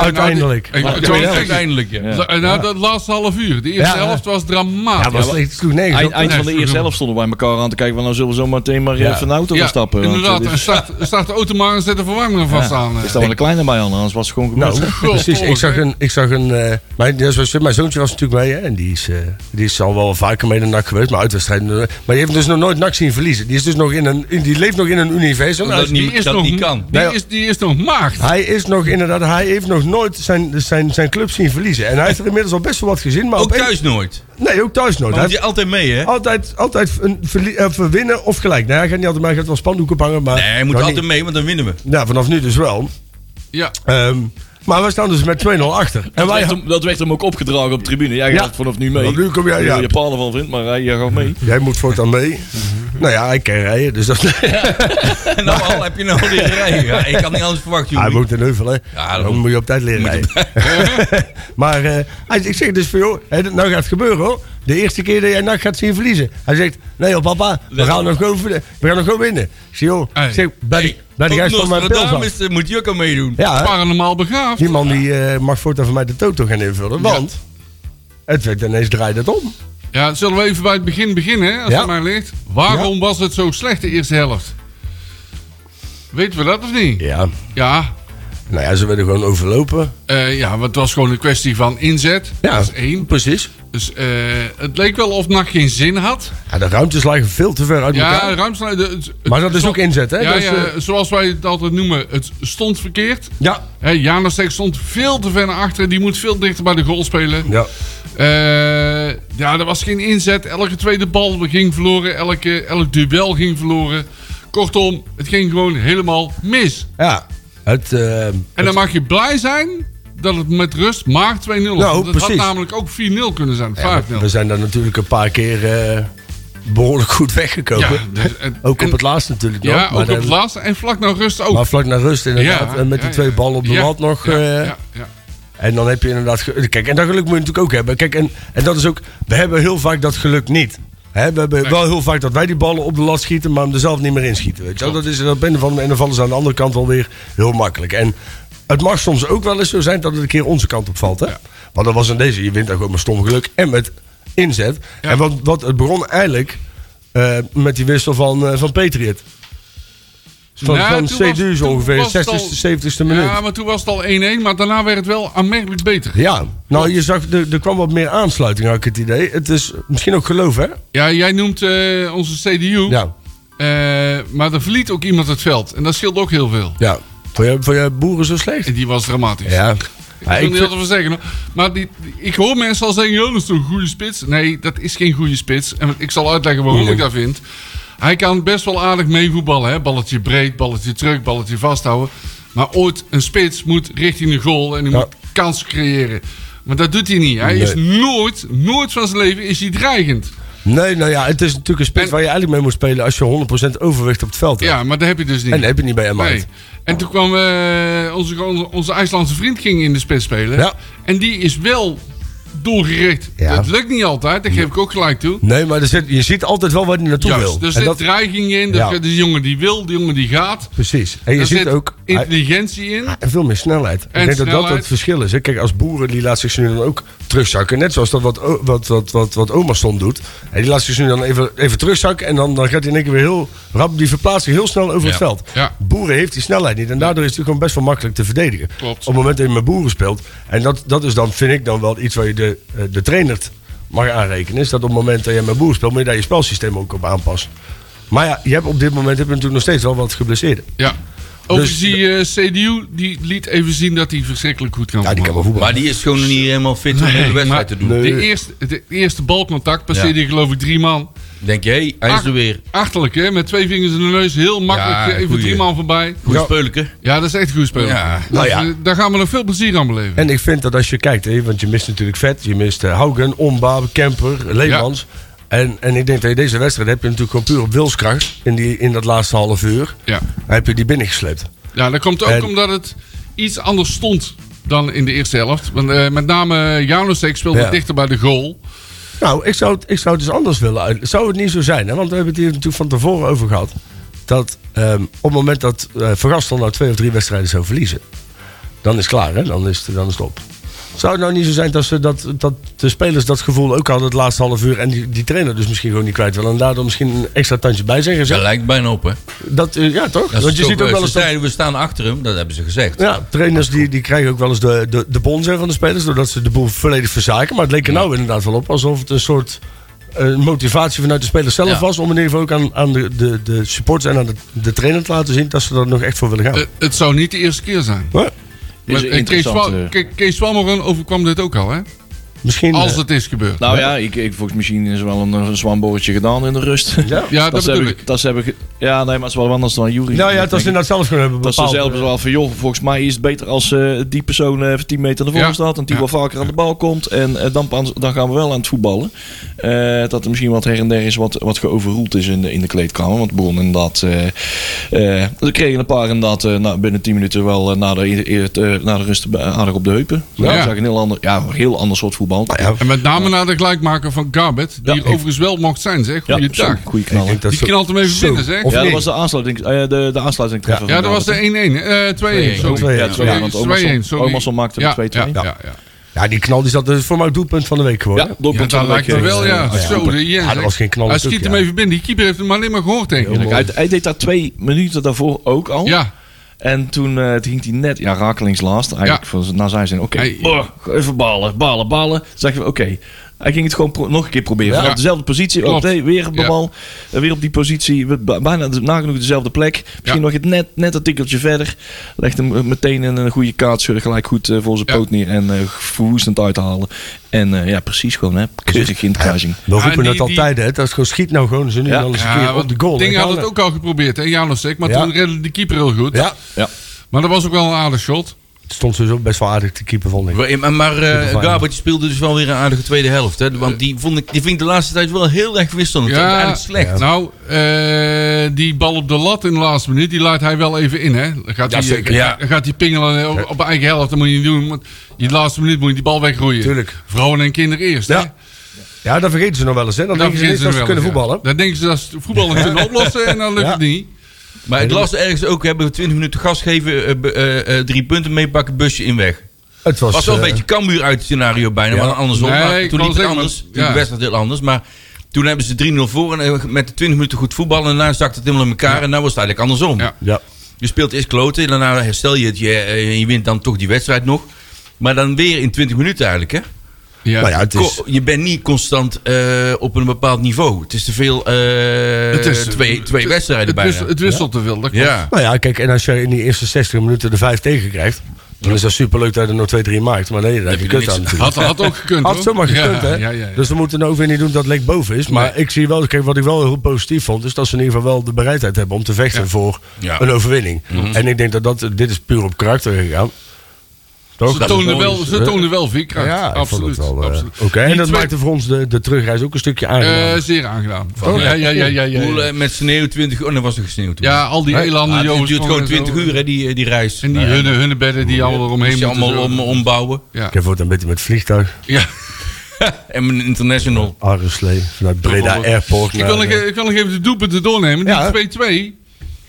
S3: Uiteindelijk.
S4: nou, ik-
S5: Maar
S4: ik-
S5: de tweede helft.
S4: uiteindelijk, ja.
S5: Ja.
S4: La- Nou, dat laatste half uur. De eerste
S3: Ja, hè?
S4: helft was dramatisch.
S3: Ja, maar het sloeg nergens
S5: Eind,
S3: op.
S5: eind van
S4: Nee,
S5: de eerste
S4: verdomme.
S5: helft stonden we bij elkaar aan te kijken. Want nou zullen we zo meteen maar eh,
S3: Ja.
S5: van de auto
S4: Ja,
S5: gaan stappen. want eh,
S4: inderdaad.
S5: dit
S4: En
S5: is-
S4: start, start de auto maar en zet de verwarming er vast aan. eh.
S5: Er staan wel een kleine bij aan, anders was het gewoon gebeurd.
S3: Nou,
S4: Goh,
S3: precies. Ik
S4: volgens,
S3: zag
S4: hè?
S3: een. Ik zag een eh, mijn, ja, zoals je- mijn zoontje was natuurlijk mee. Hè, en die is, eh, die is al wel vaker mee de NAC geweest. Maar uitwedstrijden. eh, Maar die heeft dus nog nooit NAC zien verliezen. Die, is dus nog in een, in- die leeft nog in een universum.
S2: Dat
S3: Hij is-
S2: niet- dat niet kan.
S4: Die,
S3: Nee.
S4: is, die is nog maagd.
S3: Hij is nog inderdaad. Hij heeft nog nooit zijn, zijn, zijn club zien verliezen. En hij heeft er inmiddels al best wel wat gezien. Maar
S2: Ook
S3: op een-
S2: thuis nooit.
S3: Nee, ook thuis nooit.
S2: Want
S3: Hij heeft
S2: je altijd mee, hè?
S3: altijd, altijd een verlie- eh, verwinnen of gelijk. Nou, hij gaat niet altijd, maar hij gaat wel spandoeken bangen. Maar
S2: Nee, je moet
S3: Nou,
S2: altijd
S3: niet-
S2: mee, want dan winnen we.
S3: Nou, vanaf nu dus wel.
S4: Ja.
S3: Ehm, maar we staan dus met 2-0 achter. En
S5: dat,
S3: wij
S5: werd hem, dat werd hem ook opgedragen op de tribune. Jij
S3: Ja.
S5: gaat vanaf nu mee.
S3: Want nu kom jij- ja.
S5: Je Japaner van vindt, maar hij jij gaat mee.
S3: Jij moet voortaan mee. nou ja, hij kan rijden, dus dat...
S2: En nou al heb je nou die rijden. Ja, ik kan niet anders verwachten,
S3: hij
S2: jullie.
S3: woont in Heuvel, hè?
S2: Ja, dat
S3: dan
S2: moet-
S3: moet je op tijd leren rijden. maar eh, hij, ik zeg dus voor jou, hè, dat nou gaat het gebeuren hoor. De eerste keer dat jij nacht gaat zien verliezen. Hij zegt, nee joh papa, we gaan nog gewoon, ver- we gaan nog gewoon winnen. Ik zeg, joh,
S4: Hey.
S3: ik zeg, bij de- bij de
S2: Tot
S3: juist van mijn pils af.
S2: Nostradamus eh, moet Jukka meedoen.
S3: Ja, hè?
S4: Paranormaal begaafd.
S3: die man die eh, mag voortaan voor mij de toto gaan invullen, want het werd ineens draait het om.
S4: Ja, zullen we even bij het begin beginnen, hè, als
S3: Ja.
S4: het mij ligt. Waarom was het zo slecht de eerste helft? Weten we dat of niet?
S3: Ja,
S4: Ja,
S3: nou ja, ze werden gewoon overlopen.
S4: eh, ja want het was gewoon een kwestie van inzet.
S3: Ja,
S4: Dat is één.
S3: precies.
S4: Dus eh, het leek wel of NAC geen zin had.
S3: Ja, de ruimtes lagen veel te ver uit elkaar.
S4: Ja, ruimsnijden. het-
S3: Maar dat is
S4: zo-
S3: ook inzet, hè?
S4: Ja,
S3: Dat is,
S4: ja,
S3: eh,
S4: zoals wij het altijd noemen, het stond verkeerd.
S3: Ja.
S4: Hè, Janasek stond veel te ver naar achteren. Die moet veel dichter bij de goal spelen.
S3: Ja.
S4: Eh, ja, er was geen inzet. Elke tweede bal ging verloren. Elke, elk duel ging verloren. Kortom, het ging gewoon helemaal mis.
S3: Ja. Het, eh,
S4: En dan mag je blij zijn dat het met rust maar 2-0 was.
S3: Nou,
S4: Want het
S3: precies.
S4: had namelijk ook 4-0 kunnen zijn. 5-0.
S3: ja, we zijn daar natuurlijk een paar keer eh, behoorlijk goed weggekomen.
S4: Ja, dus, en-
S3: ook
S4: en-
S3: op het laatst natuurlijk nog.
S4: ja,
S3: maar,
S4: ook op
S3: dan-
S4: het laatste. En vlak naar rust ook.
S3: maar vlak naar rust inderdaad.
S4: Ja,
S3: en met die
S4: ja,
S3: twee
S4: ja.
S3: ballen op de
S4: Ja,
S3: lat nog.
S4: ja,
S3: eh,
S4: ja, ja.
S3: En dan heb je inderdaad... ge- Kijk, en dat geluk moet je natuurlijk ook hebben. Kijk, en, en dat is ook... We hebben heel vaak dat geluk niet. Hè, we hebben wel heel vaak dat wij die ballen op de lat schieten... maar hem er zelf niet meer inschieten. Weet je? wel. Dat is dat ben van, en dan vallen ze aan de andere kant wel weer heel makkelijk. En het mag soms ook wel eens zo zijn dat het een keer onze kant op valt. Hè? Want dat was in deze. Je wint daar gewoon met stom geluk en met inzet. En wat, wat het begon eigenlijk... eh, met die wissel van, eh, van Patriot. Van,
S4: Nou,
S3: van
S4: toen was-
S3: Cedus
S4: toen
S3: ongeveer,
S4: was het
S3: 60ste,
S4: al-
S3: 70ste minuut.
S4: Ja, maar toen was het al 1-1, maar daarna werd het wel aanmerkelijk beter.
S3: Ja, nou je zag, er, er kwam wat meer aansluiting, had ik het idee. Het is misschien ook geloof, hè?
S4: Ja, jij noemt eh, onze CDU,
S3: Ja,
S4: eh, maar er verliet ook iemand het veld. En dat scheelt ook heel veel.
S3: ja. Vond jij, vond jij boeren zo slecht?
S4: En die was dramatisch.
S3: Ja. Ja,
S4: Ik wil
S3: ik
S4: niet
S3: vind-
S4: wat over zeggen. hoor. Maar die, die- ik hoor mensen al zeggen, joh, dat is toch een goede spits. Nee, dat is geen goede spits. En ik zal uitleggen waarom ik dat vind. Hij kan best wel aardig meevoetballen. Hè? Balletje breed, balletje terug, balletje vasthouden. Maar ooit, een spits moet richting de goal en die
S3: Ja.
S4: moet kansen creëren. Maar dat doet hij niet. Hij
S3: Nee.
S4: is nooit, nooit van zijn leven is hij dreigend.
S3: Nee, nou ja, het is natuurlijk een spits
S4: En-
S3: waar je eigenlijk mee moet spelen als je 100% overwicht op het veld hebt.
S4: Ja, maar dat heb je dus niet.
S3: En dat heb je niet bij hem
S4: Nee.
S3: uit.
S4: En toen kwam eh, onze, onze, onze IJslandse vriend ging in de spits spelen.
S3: Ja.
S4: En die is wel doelgericht.
S3: Ja.
S4: Dat lukt niet altijd, dat geef ik ook gelijk toe.
S3: Nee, maar er zit, je ziet altijd wel waar hij naartoe wil.
S4: Juist, er
S3: en
S4: zit
S3: dat,
S4: dreiging in.
S3: Ja.
S4: De, de jongen die wil, de jongen die gaat.
S3: precies. En je
S4: Er
S3: ziet
S4: zit
S3: ook... hij- Ah.
S4: intelligentie in.
S3: En veel meer snelheid. ik denk dat dat
S4: snelheid.
S3: het verschil is. hè. Kijk, als boeren die laat zich ze nu dan ook terugzakken. Net zoals dat wat, o- wat, wat, wat, wat oma stond doet. En die laat zich ze nu dan even, even terugzakken. En dan, dan gaat hij in één keer weer heel rap. Die verplaatst zich heel snel over het veld.
S4: Ja.
S3: Boeren heeft die snelheid niet. En daardoor is het gewoon best wel makkelijk te verdedigen.
S4: Klopt.
S3: Op het moment dat je met boeren speelt. En dat, dat is dan, vind ik dan wel iets waar je de, eh, de trainer t- mag aanrekenen. Is dat op het moment dat je met boeren speelt. Moet je daar je spelsysteem ook op aanpassen. Maar ja, je hebt op dit moment heb je natuurlijk nog steeds wel wat geblesseerden.
S4: Ja. Overigens,
S3: Dus-
S4: die eh, CDU die liet even zien dat hij verschrikkelijk goed kan
S3: Ja, die kan wel
S4: voetballen.
S3: voetballen.
S2: Maar die is gewoon nog niet helemaal fit om de wedstrijd te doen.
S3: Nee.
S4: De eerste, de eerste balcontact passeerde
S2: Ja.
S4: hij geloof ik drie man.
S2: Denk je, hé, hij is er weer.
S4: Achterlijk hè, met twee vingers in de neus. Heel makkelijk
S2: Ja,
S4: eh, even
S2: goeie.
S4: drie man voorbij.
S2: Goed
S3: Ja.
S2: speuliken.
S4: Ja, dat is echt een goed spel.
S2: Ja.
S4: Dus,
S3: Nou ja.
S4: eh, daar gaan we nog veel plezier aan beleven.
S3: En ik vind dat als je kijkt, hè, want je mist natuurlijk Vet, je mist eh, Haugen, Omba, Kemper, Leemans. En, en ik denk dat je deze wedstrijd heb je natuurlijk gewoon puur op wilskracht in, die, in dat laatste half uur.
S4: Ja.
S3: Heb je die binnengesleept.
S4: ja, dat komt ook
S3: En-
S4: omdat het iets anders stond dan in de eerste helft. Want, eh, met name Janusek speelde
S3: Ja.
S4: dichter bij de goal.
S3: Nou, ik zou, het, ik zou het dus anders willen uit. Zou het niet zo zijn, hè? want we hebben het hier natuurlijk van tevoren over gehad. Dat ehm, op het moment dat eh Vergastel nou twee of drie wedstrijden zou verliezen. dan is het klaar, hè? Dan is het, dan is het op. Zou het nou niet zo zijn dat, ze, dat, dat de spelers dat gevoel ook hadden het laatste half uur... en die, die trainer dus misschien gewoon niet kwijt wil... en daardoor misschien een extra tandje bij zeggen?
S2: Dat
S3: Zeg,
S2: lijkt bijna op, hè?
S3: dat, eh, ja, toch?
S2: Ja, ze
S3: Want je
S2: zo-
S3: ziet ook
S2: ze
S3: wel eens dat...
S2: zeiden, we staan achter hem, dat hebben ze gezegd.
S3: Ja, trainers die, die krijgen ook wel eens de, de, de bonzen van de spelers... doordat ze de boel volledig verzaken. Maar het leek er nou inderdaad wel op alsof het een soort... eh, motivatie vanuit de spelers zelf
S2: Ja.
S3: was om in ieder geval ook aan, aan de, de, de supporters en aan de, de trainer te laten zien dat ze er nog echt voor willen gaan.
S4: Eh, het zou niet de eerste keer zijn.
S3: Huh?
S5: Dit is
S4: Maar,
S5: een
S4: eh, Kees
S5: interessante-
S4: Wa- Ke- Kees Wammeren overkwam dit ook al, hè?
S3: Misschien.
S4: Als
S3: eh,
S4: het is gebeurd.
S5: Nou ja, ik, ik volgens misschien is er wel een, een zwambolletje gedaan in de rust.
S3: ja.
S4: ja, dat
S5: ze
S4: bedoel
S5: hebben,
S4: ik.
S5: dat ze hebben ge- ja, nee, maar het is wel anders dan Jury.
S3: Nou ja, het was inderdaad zelf gewoon hebben
S5: Dat ze
S3: bepaald.
S5: zelf wel van, joh, volgens mij is het beter als eh, die persoon even 10 meter naar voren
S4: Ja.
S5: staat. En die
S4: Ja.
S5: wel vaker aan de bal komt. En eh, dan, pas- dan gaan we wel aan het voetballen. Eh, dat er misschien wat her en der is wat, wat geoverroeld is in de, in de kleedkamer. Want het begon inderdaad... eh eh, er kregen een paar inderdaad eh, na, binnen 10 minuten wel eh, na, de, eh, het, eh, na de rust eh, aardig op de heupen.
S4: Ja.
S5: Dat is eigenlijk een heel ander, ja, een heel ander soort voetbal.
S3: Nou
S4: En met name na de gelijkmaker van Garbet, die
S5: Ja.
S4: er overigens wel mocht zijn, zeg.
S5: Ja,
S4: Goeiedag.
S5: zo'n goede knallen.
S3: Ik denk dat
S4: Die
S3: zo-
S4: knalt hem even
S3: zo.
S4: binnen, zeg.
S3: Of
S5: ja, dat
S3: nee.
S5: was de aansluiting, eh, de, de aansluiting treffer.
S4: Ja, dat was de 1-1. eh, 2-1, sorry.
S3: 2-1,
S5: Ja,
S4: Sorry,
S5: ja, want Omerson-
S4: 2-1, sorry.
S5: Omerson maakte de
S4: Ja,
S5: 2-2.
S4: Ja, ja, ja.
S3: Ja, die knal die zat dus voor mij het doelpunt van de week geworden.
S5: Ja,
S3: Ja,
S4: Ja,
S5: doelpunt van
S4: dat
S5: de
S4: lijkt me
S5: week. eh,
S4: wel, ja. Zo, de Jens,
S3: Ja, dat was geen knal
S4: Hij
S3: natuurlijk,
S4: schiet hem
S3: ja.
S4: even binnen. Die keeper heeft hem alleen maar gehoord, denk ik.
S5: Hij, hij deed daar twee minuten daarvoor ook al.
S4: Ja,
S5: En toen eh het hing hij net, ja, rakelings laatst. Eigenlijk,
S4: Ja.
S5: van, nou zijn ze, oké,
S4: Hij-
S5: boah, even balen, balen, balen. Toen Zeg je, oké. Hij ging het gewoon pro- nog een keer proberen. Vanaf
S4: Ja.
S5: dezelfde positie,
S4: Klopt.
S5: op de, weer op de
S4: Ja.
S5: bal, eh, weer op die positie. we- ba- Bijna de- nagenoeg dezelfde plek. Misschien nog het net, net een tikkeltje verder. Legt hem eh, meteen in een goede kaats, eh, gelijk goed eh, voor zijn
S4: Ja.
S5: poot neer. En eh verwoestend uithalen. En eh, ja, precies gewoon, hè, keurig in het kruising.
S3: We roepen
S4: Ja, die-
S3: het al
S4: die-
S3: tijden, hè. Dat is gewoon schiet nou gewoon zo nu
S5: Ja.
S3: en dan eens een
S4: ja
S3: keer op
S4: want
S3: de goal.
S4: Ding
S3: hè.
S4: had het ook al geprobeerd, hè, Janosek. Maar
S3: Ja.
S4: toen redde de keeper heel goed.
S3: Ja,
S5: Ja.
S4: Maar dat was ook wel een aardig shot.
S3: het stond sowieso best wel aardig te keeper, vond ik.
S2: Maar- Maar, maar eh, Gabert speelde dus wel weer een aardige tweede helft. Hè? Want die, vond ik, die vind ik de laatste tijd wel heel erg wisselend. Ja. Eigenlijk slecht.
S4: Nou, eh, die bal op de lat in de laatste minuut, die laat hij wel even in, hè? Dan gaat, die,
S2: zeker.
S4: eh,
S2: Ja.
S4: dan gaat die pingelen eh, op, op eigen helft, dat moet je niet doen. Want die laatste minuut moet je die bal weggooien.
S3: Tuurlijk.
S4: Vrouwen en kinderen eerst, hè?
S3: Ja. Ja, dat vergeten ze nog wel eens, hè. Dan
S4: Dan
S3: denken ze
S4: vergeten
S3: niet
S4: ze
S3: dat ze kunnen
S4: wel eens, ja.
S3: voetballen.
S4: Dan denken ze dat ze voetballen kunnen oplossen en dan lukt
S3: Ja.
S4: het niet.
S2: Maar het las ergens ook, hebben we 20 minuten gas geven, eh, be- eh, eh, drie punten meepakken, busje in weg.
S3: Het was...
S2: was wel een
S3: eh,
S2: beetje Cambuur uit het scenario bijna,
S3: ja.
S2: maar andersom.
S4: Nee,
S2: maar
S4: ik
S2: toen
S4: wou
S2: liep het
S4: zeggen,
S2: anders,
S4: maar-
S2: toen
S4: ja.
S2: de wedstrijd heel anders. Maar toen hebben ze 3-0 voor en eh, met de 20 minuten goed voetballen. En daarna stak het helemaal in elkaar en nou was het eigenlijk andersom.
S4: Ja.
S3: Ja.
S2: Je speelt eerst kloten, daarna herstel je het je, eh, je wint dan toch die wedstrijd nog. Maar dan weer in 20 minuten eigenlijk hè.
S4: Ja.
S3: Nou ja, het is...
S2: Ko- je bent niet constant eh, op een bepaald niveau. Het is te veel eh, twee, twee
S4: het-
S2: wedstrijden
S4: het,
S2: bijna.
S4: wis- Het wisselt te veel, dat klopt.
S2: ja.
S3: Nou ja, kijk, en als je in die eerste 60 minuten de 5 tegen krijgt, dan is dat superleuk dat je er nog 2-3 maakt. Maar nee, daar heb je
S2: je
S3: kut
S2: niks-
S3: aan natuurlijk.
S4: Had, had ook gekund,
S3: Had
S4: hoor.
S3: zomaar gekund,
S4: ja,
S3: hè?
S4: Ja, ja, ja.
S3: Dus we moeten nou ook weer niet doen dat Lek boven is. Maar
S4: Nee.
S3: ik zie wel, kijk, wat ik wel heel positief vond, is dat ze in ieder geval wel de bereidheid hebben om te vechten voor
S2: Ja.
S3: een overwinning.
S4: Mhm.
S3: En ik denk dat, dat dit is puur op karakter gegaan. Toch?
S4: ze, toonden wel, ze toonden wel veerkracht.
S3: Ja, ik vond
S4: absoluut.
S3: het wel, eh,
S4: absoluut.
S3: Oké, en
S4: Die
S3: dat
S4: twee-
S3: maakte voor ons de, de terugreis ook een stukje
S4: Eh,
S3: aangenaam.
S4: zeer aangedaan.
S2: Oh,
S4: ja, ja, ja, ja, ja,
S2: Hoe,
S4: ja.
S2: eh, Met sneeuw 20 uur. Oh, dan was er gesneeuwd. toen.
S4: Ja, al die elanden,
S2: Ah,
S4: Joost.
S2: het duurt gewoon 20 uur, hè, die, eh, die reis.
S4: En die
S2: Nou ja,
S4: hunnen, hunnenbedden die allemaal eromheen
S2: moest je allemaal
S4: zo.
S2: om, ombouwen.
S4: Ja.
S3: ik heb voortaan een beetje met vliegtuig,
S4: Ja.
S2: En een international.
S3: Arreslee, vanuit Breda
S4: Bijvoorbeeld.
S3: Airport.
S4: Ik,
S3: naar,
S4: wil nog,
S3: eh,
S4: e- ik wil nog even de doelpunten doornemen.
S3: Ja.
S4: Die 2-2,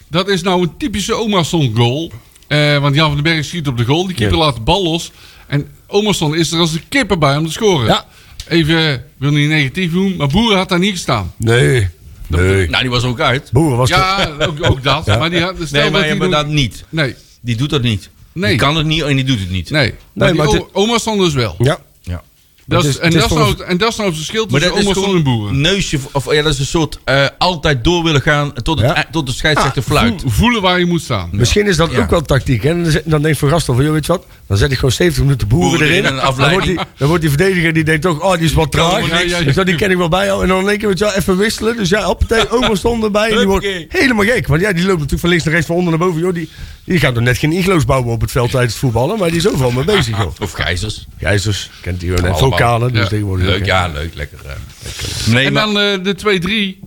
S4: dat is nou een typische Omerson goal. Eh, want Jan van den Berg schiet op de goal. Die keeper
S3: Ja.
S4: laat de bal los. En Omerson is er als een kipper bij om te scoren.
S3: Ja.
S4: Even, ik wil niet negatief doen, maar Boer had daar niet gestaan.
S3: eh, Nee, nee.
S2: Nou, die was er ook uit.
S3: Boeren was er-
S4: Ja, ook, ook dat. Maar die had, dus stel
S2: Nee, maar,
S4: dat die
S2: maar
S4: doen-
S2: dat niet.
S4: Nee,
S2: Die doet dat niet.
S4: Nee.
S2: Die kan het niet en die doet het niet.
S4: nee. Maar die
S3: maar het-
S4: O- Omerson dus wel.
S3: Ja.
S2: Ja.
S4: Dat
S3: Het
S4: is,
S3: is-
S4: en,
S3: het is
S4: dat is
S3: gewoon-
S4: nou, het- en dat is nou het verschil
S2: Maar
S4: tussen
S2: dat is
S4: Omerson en
S2: gewoon
S4: Boeren.
S2: een neusje, of ja, dat is een soort eh, altijd door willen gaan tot, het,
S3: Ja. Ah,
S2: ei- tot de scheidsrechter fluit.
S4: Voel- Voelen waar je moet staan.
S3: Misschien is dat
S2: Ja.
S3: ook wel tactiek. Hè? Dan, zit- dan denkt Van Gastel van, joh, weet je wat? Dan zet ik gewoon 70 minuten boeren,
S2: Boeren erin
S3: erin.
S2: en een
S3: dan,
S2: afleiding.
S3: wordt die, dan wordt die verdediger, die denkt toch, oh, die is wat
S4: kan
S3: traag.
S4: helemaal niks. Ja, ja, ja.
S3: Ik dacht, die ken ik wel bij. En dan in één keer, weet je wel, even wisselen. Dus ja, hoppatee, oma stond erbij. En die wordt
S2: Huppakee.
S3: helemaal gek. Want ja, die loopt natuurlijk van links naar rechts, van onder naar boven. Joh, die, die gaat nog net geen iglo's bouwen op het veld tijdens het voetballen. Maar die is overal mee bezig, joh.
S2: Ah, Of gijzers.
S3: Jezus, kent die gewoon net.
S2: Allemaal.
S3: Vocalen, dus
S4: Ja.
S3: tegenwoordig.
S2: Leuk, ja, leuk, lekker. eh, lekker. Nee,
S4: En
S2: maar
S4: dan eh, de 2-3.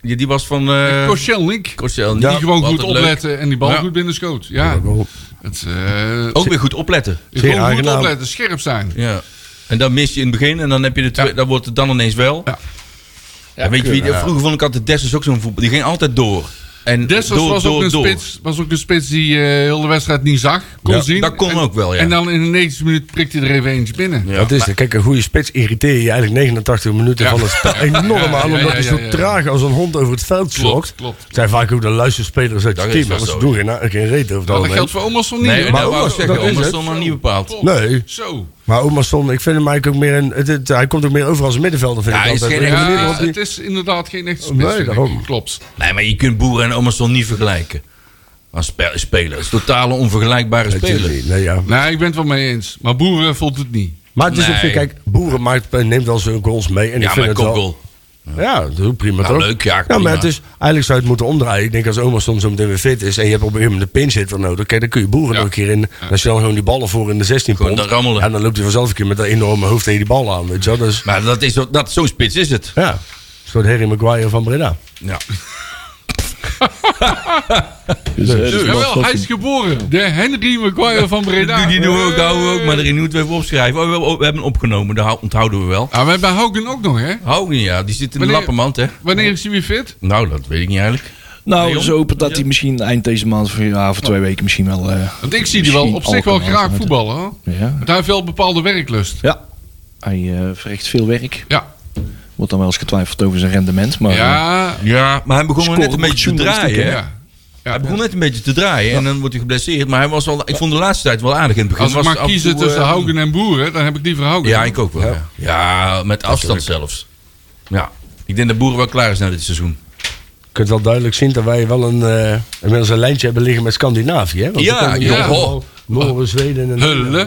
S2: die, die was van... eh
S4: Koscielnik.
S2: Koscielny.
S4: die gewoon goed
S2: Altijd leuk.
S4: opletten en die bal
S2: Ja.
S4: goed binnen schoot. Ja.
S3: wel.
S4: Het, eh,
S2: Ook weer goed opletten.
S3: zeer
S4: gewoon goed
S3: aangenaam.
S4: opletten, scherp zijn.
S2: Ja. En dan mis je in het begin en dan, heb je de twee, dan wordt het dan ineens wel.
S4: Ja.
S2: Ja, weet je wie, vroeger vond ik altijd Dessers ook zo'n voetbal. Die ging altijd door. En
S4: Dessers
S2: door,
S4: was,
S2: door,
S4: ook een
S2: door.
S4: spits, was ook een spits die eh, heel de wedstrijd niet zag, kon
S2: Ja,
S4: zien.
S2: dat kon
S4: En-
S2: ook wel, ja.
S4: En dan in de 90 minuut prikt hij er even eentje binnen.
S2: Ja,
S3: dat is het. Kijk, een goede spits irriteer je eigenlijk 89 minuten
S4: Ja.
S3: van het spel enorm
S4: Ja, ja,
S3: aan.
S4: ja,
S3: Omdat hij
S4: ja,
S3: zo
S4: ja, ja.
S3: traag als een hond over het veld
S4: Klopt,
S3: slokt.
S4: klopt.
S3: zijn vaak ook de luisterspelers uit
S2: Dat
S3: het
S2: is
S3: team.
S2: wel
S3: Want ze
S2: zo.
S3: doen geen, geen reet over het
S4: Dat
S3: algemeen.
S4: geldt voor Omerson niet.
S2: Nee,
S4: hoor.
S2: maar dat
S3: dat
S2: wou ik
S3: was-
S2: zeggen,
S3: dat is
S2: Omerson
S4: het.
S2: nog niet bepaald.
S3: Nee.
S4: Zo.
S3: Maar Omerson, ik vind hem eigenlijk ook meer een... Het, het- hij komt ook meer over als een middenvelder, vind
S2: Ja,
S3: ik
S2: hij is
S3: altijd.
S2: geen
S3: Op een
S4: Ja,
S2: echte
S3: manier waarop hij-
S4: het is inderdaad geen echte spits.
S3: Nee,
S4: vind ik.
S3: daarom.
S4: Klopt.
S2: Nee, maar je kunt Boer en Omerson niet vergelijken. Als spe- spelers. Totale onvergelijkbare spelers.
S3: Nee, ja.
S4: Nee, ik ben het wel mee eens. Maar Boeren voelt het niet.
S3: Maar het is op
S2: Nee.
S3: zich, kijk, Boeren maakt, neemt wel zijn goals mee. En ik
S2: Ja,
S3: vind
S2: maar
S3: het wel,
S2: Kokkel.
S3: Ja, dat is ook prima
S2: Nou,
S3: toch?
S2: leuk, ja,
S3: ja
S2: prima.
S3: maar het is, eigenlijk zou je het moeten omdraaien. Ik denk als oma soms zo meteen weer fit is en je hebt op een gegeven moment een pinch hitter nodig. Kijk, dan kun je boeren
S4: Ja.
S3: nog een keer in. Dan stel je gewoon die ballen voor in de 16
S2: Gewoon
S3: pond.
S2: dan rammelen.
S3: En dan loopt hij vanzelf een keer met dat enorme hoofd tegen die bal aan. Weet je wel? Dus,
S2: Maar dat is, dat, zo'n spits is het.
S3: ja, een soort Harry Maguire van Breda.
S2: Ja.
S5: Dus, eh, dus dat-
S4: Jawel,
S5: dat-
S4: hij is geboren. De Henry Maguire van Breda.
S2: Die,
S4: Eh.
S2: die doen we ook, houden we ook, maar erin moeten we even opschrijven. Oh, we, we hebben hem opgenomen, dat hou- onthouden we wel.
S4: Ja, Ah, we hebben Haugen ook nog, hè?
S2: Houden, ja, die zit in de
S4: Wanneer-
S2: lappenmand, hè?
S4: Wanneer is hij weer fit?
S2: Nou, dat weet ik niet eigenlijk.
S5: Nou,
S2: Leon?
S5: zo hopend dat hij misschien eind deze maand of ja, over twee weken misschien wel. eh,
S4: Want ik zie die wel op
S5: misschien
S4: zich wel
S5: al kan
S4: graag
S5: laten.
S4: voetballen, hoor.
S5: Ja.
S4: Want hij heeft wel een bepaalde werklust.
S5: ja. Hij eh, verricht veel werk.
S4: Ja.
S5: Wordt dan wel eens getwijfeld over zijn rendement. Maar eh,
S4: Ja.
S2: Ja, maar hij begon wel net een
S5: Scoren
S2: beetje te
S5: op
S2: draaien, hè?
S4: Ja.
S2: Hij begon net een beetje te draaien en dan wordt hij geblesseerd. Maar hij was wel, ik vond de laatste tijd wel aardig in het begin.
S4: Als ik
S2: Was
S4: maar
S2: af en
S4: kiezen
S2: toe,
S4: tussen
S2: eh,
S4: Haugen en Boeren, dan heb ik liever Haugen.
S2: Ja, ik ook wel. Ja, Ja, met afstand zelfs. Ja. Ik denk dat Boeren wel klaar is na dit seizoen.
S3: Je kunt wel duidelijk zien dat wij wel een, eh, inmiddels een lijntje hebben liggen met Scandinavië. Hè? Want
S2: Ja,
S3: we komen
S2: ja. Oh.
S3: hier allemaal Noorwegen, Zweden en...
S4: Hulle.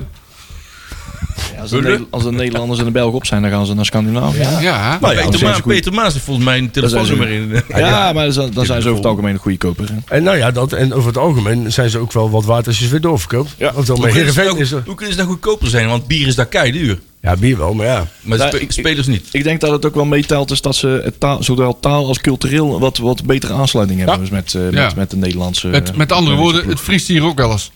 S5: eh, als, de Ne- als de Nederlanders en de Belgen op zijn, dan gaan ze naar Scandinavië. Ja,
S4: Ja.
S2: Maar Peter,
S5: dat
S2: Ma
S5: zijn ze goed.
S2: Peter Maas heeft volgens mij een
S5: zijn ze
S2: telefoonnummer in. eh,
S5: maar dan, zijn- dan zijn ze over het algemeen een goede koper. hè.
S3: En nou ja, dat, en over het algemeen zijn ze ook wel wat waard als je ze weer doorverkoopt.
S5: Ja.
S3: Want dan
S2: Hoe
S3: met
S2: kunnen, ze
S3: Heerenveen
S2: nou,
S3: is er...
S2: hoe kunnen ze nou goedkoper zijn? Want bier is daar keiduur.
S3: Ja, bier wel, maar ja.
S2: Maar
S5: Nou,
S2: spe-
S5: ik-
S2: spelers niet.
S5: Ik denk dat het ook wel meetelt is dat ze het taal, zowel taal als cultureel wat, wat betere aansluiting hebben dus met, eh,
S4: Ja.
S5: met, met de Nederlandse.
S4: Met, met andere woorden, het vriest hier ook wel eens.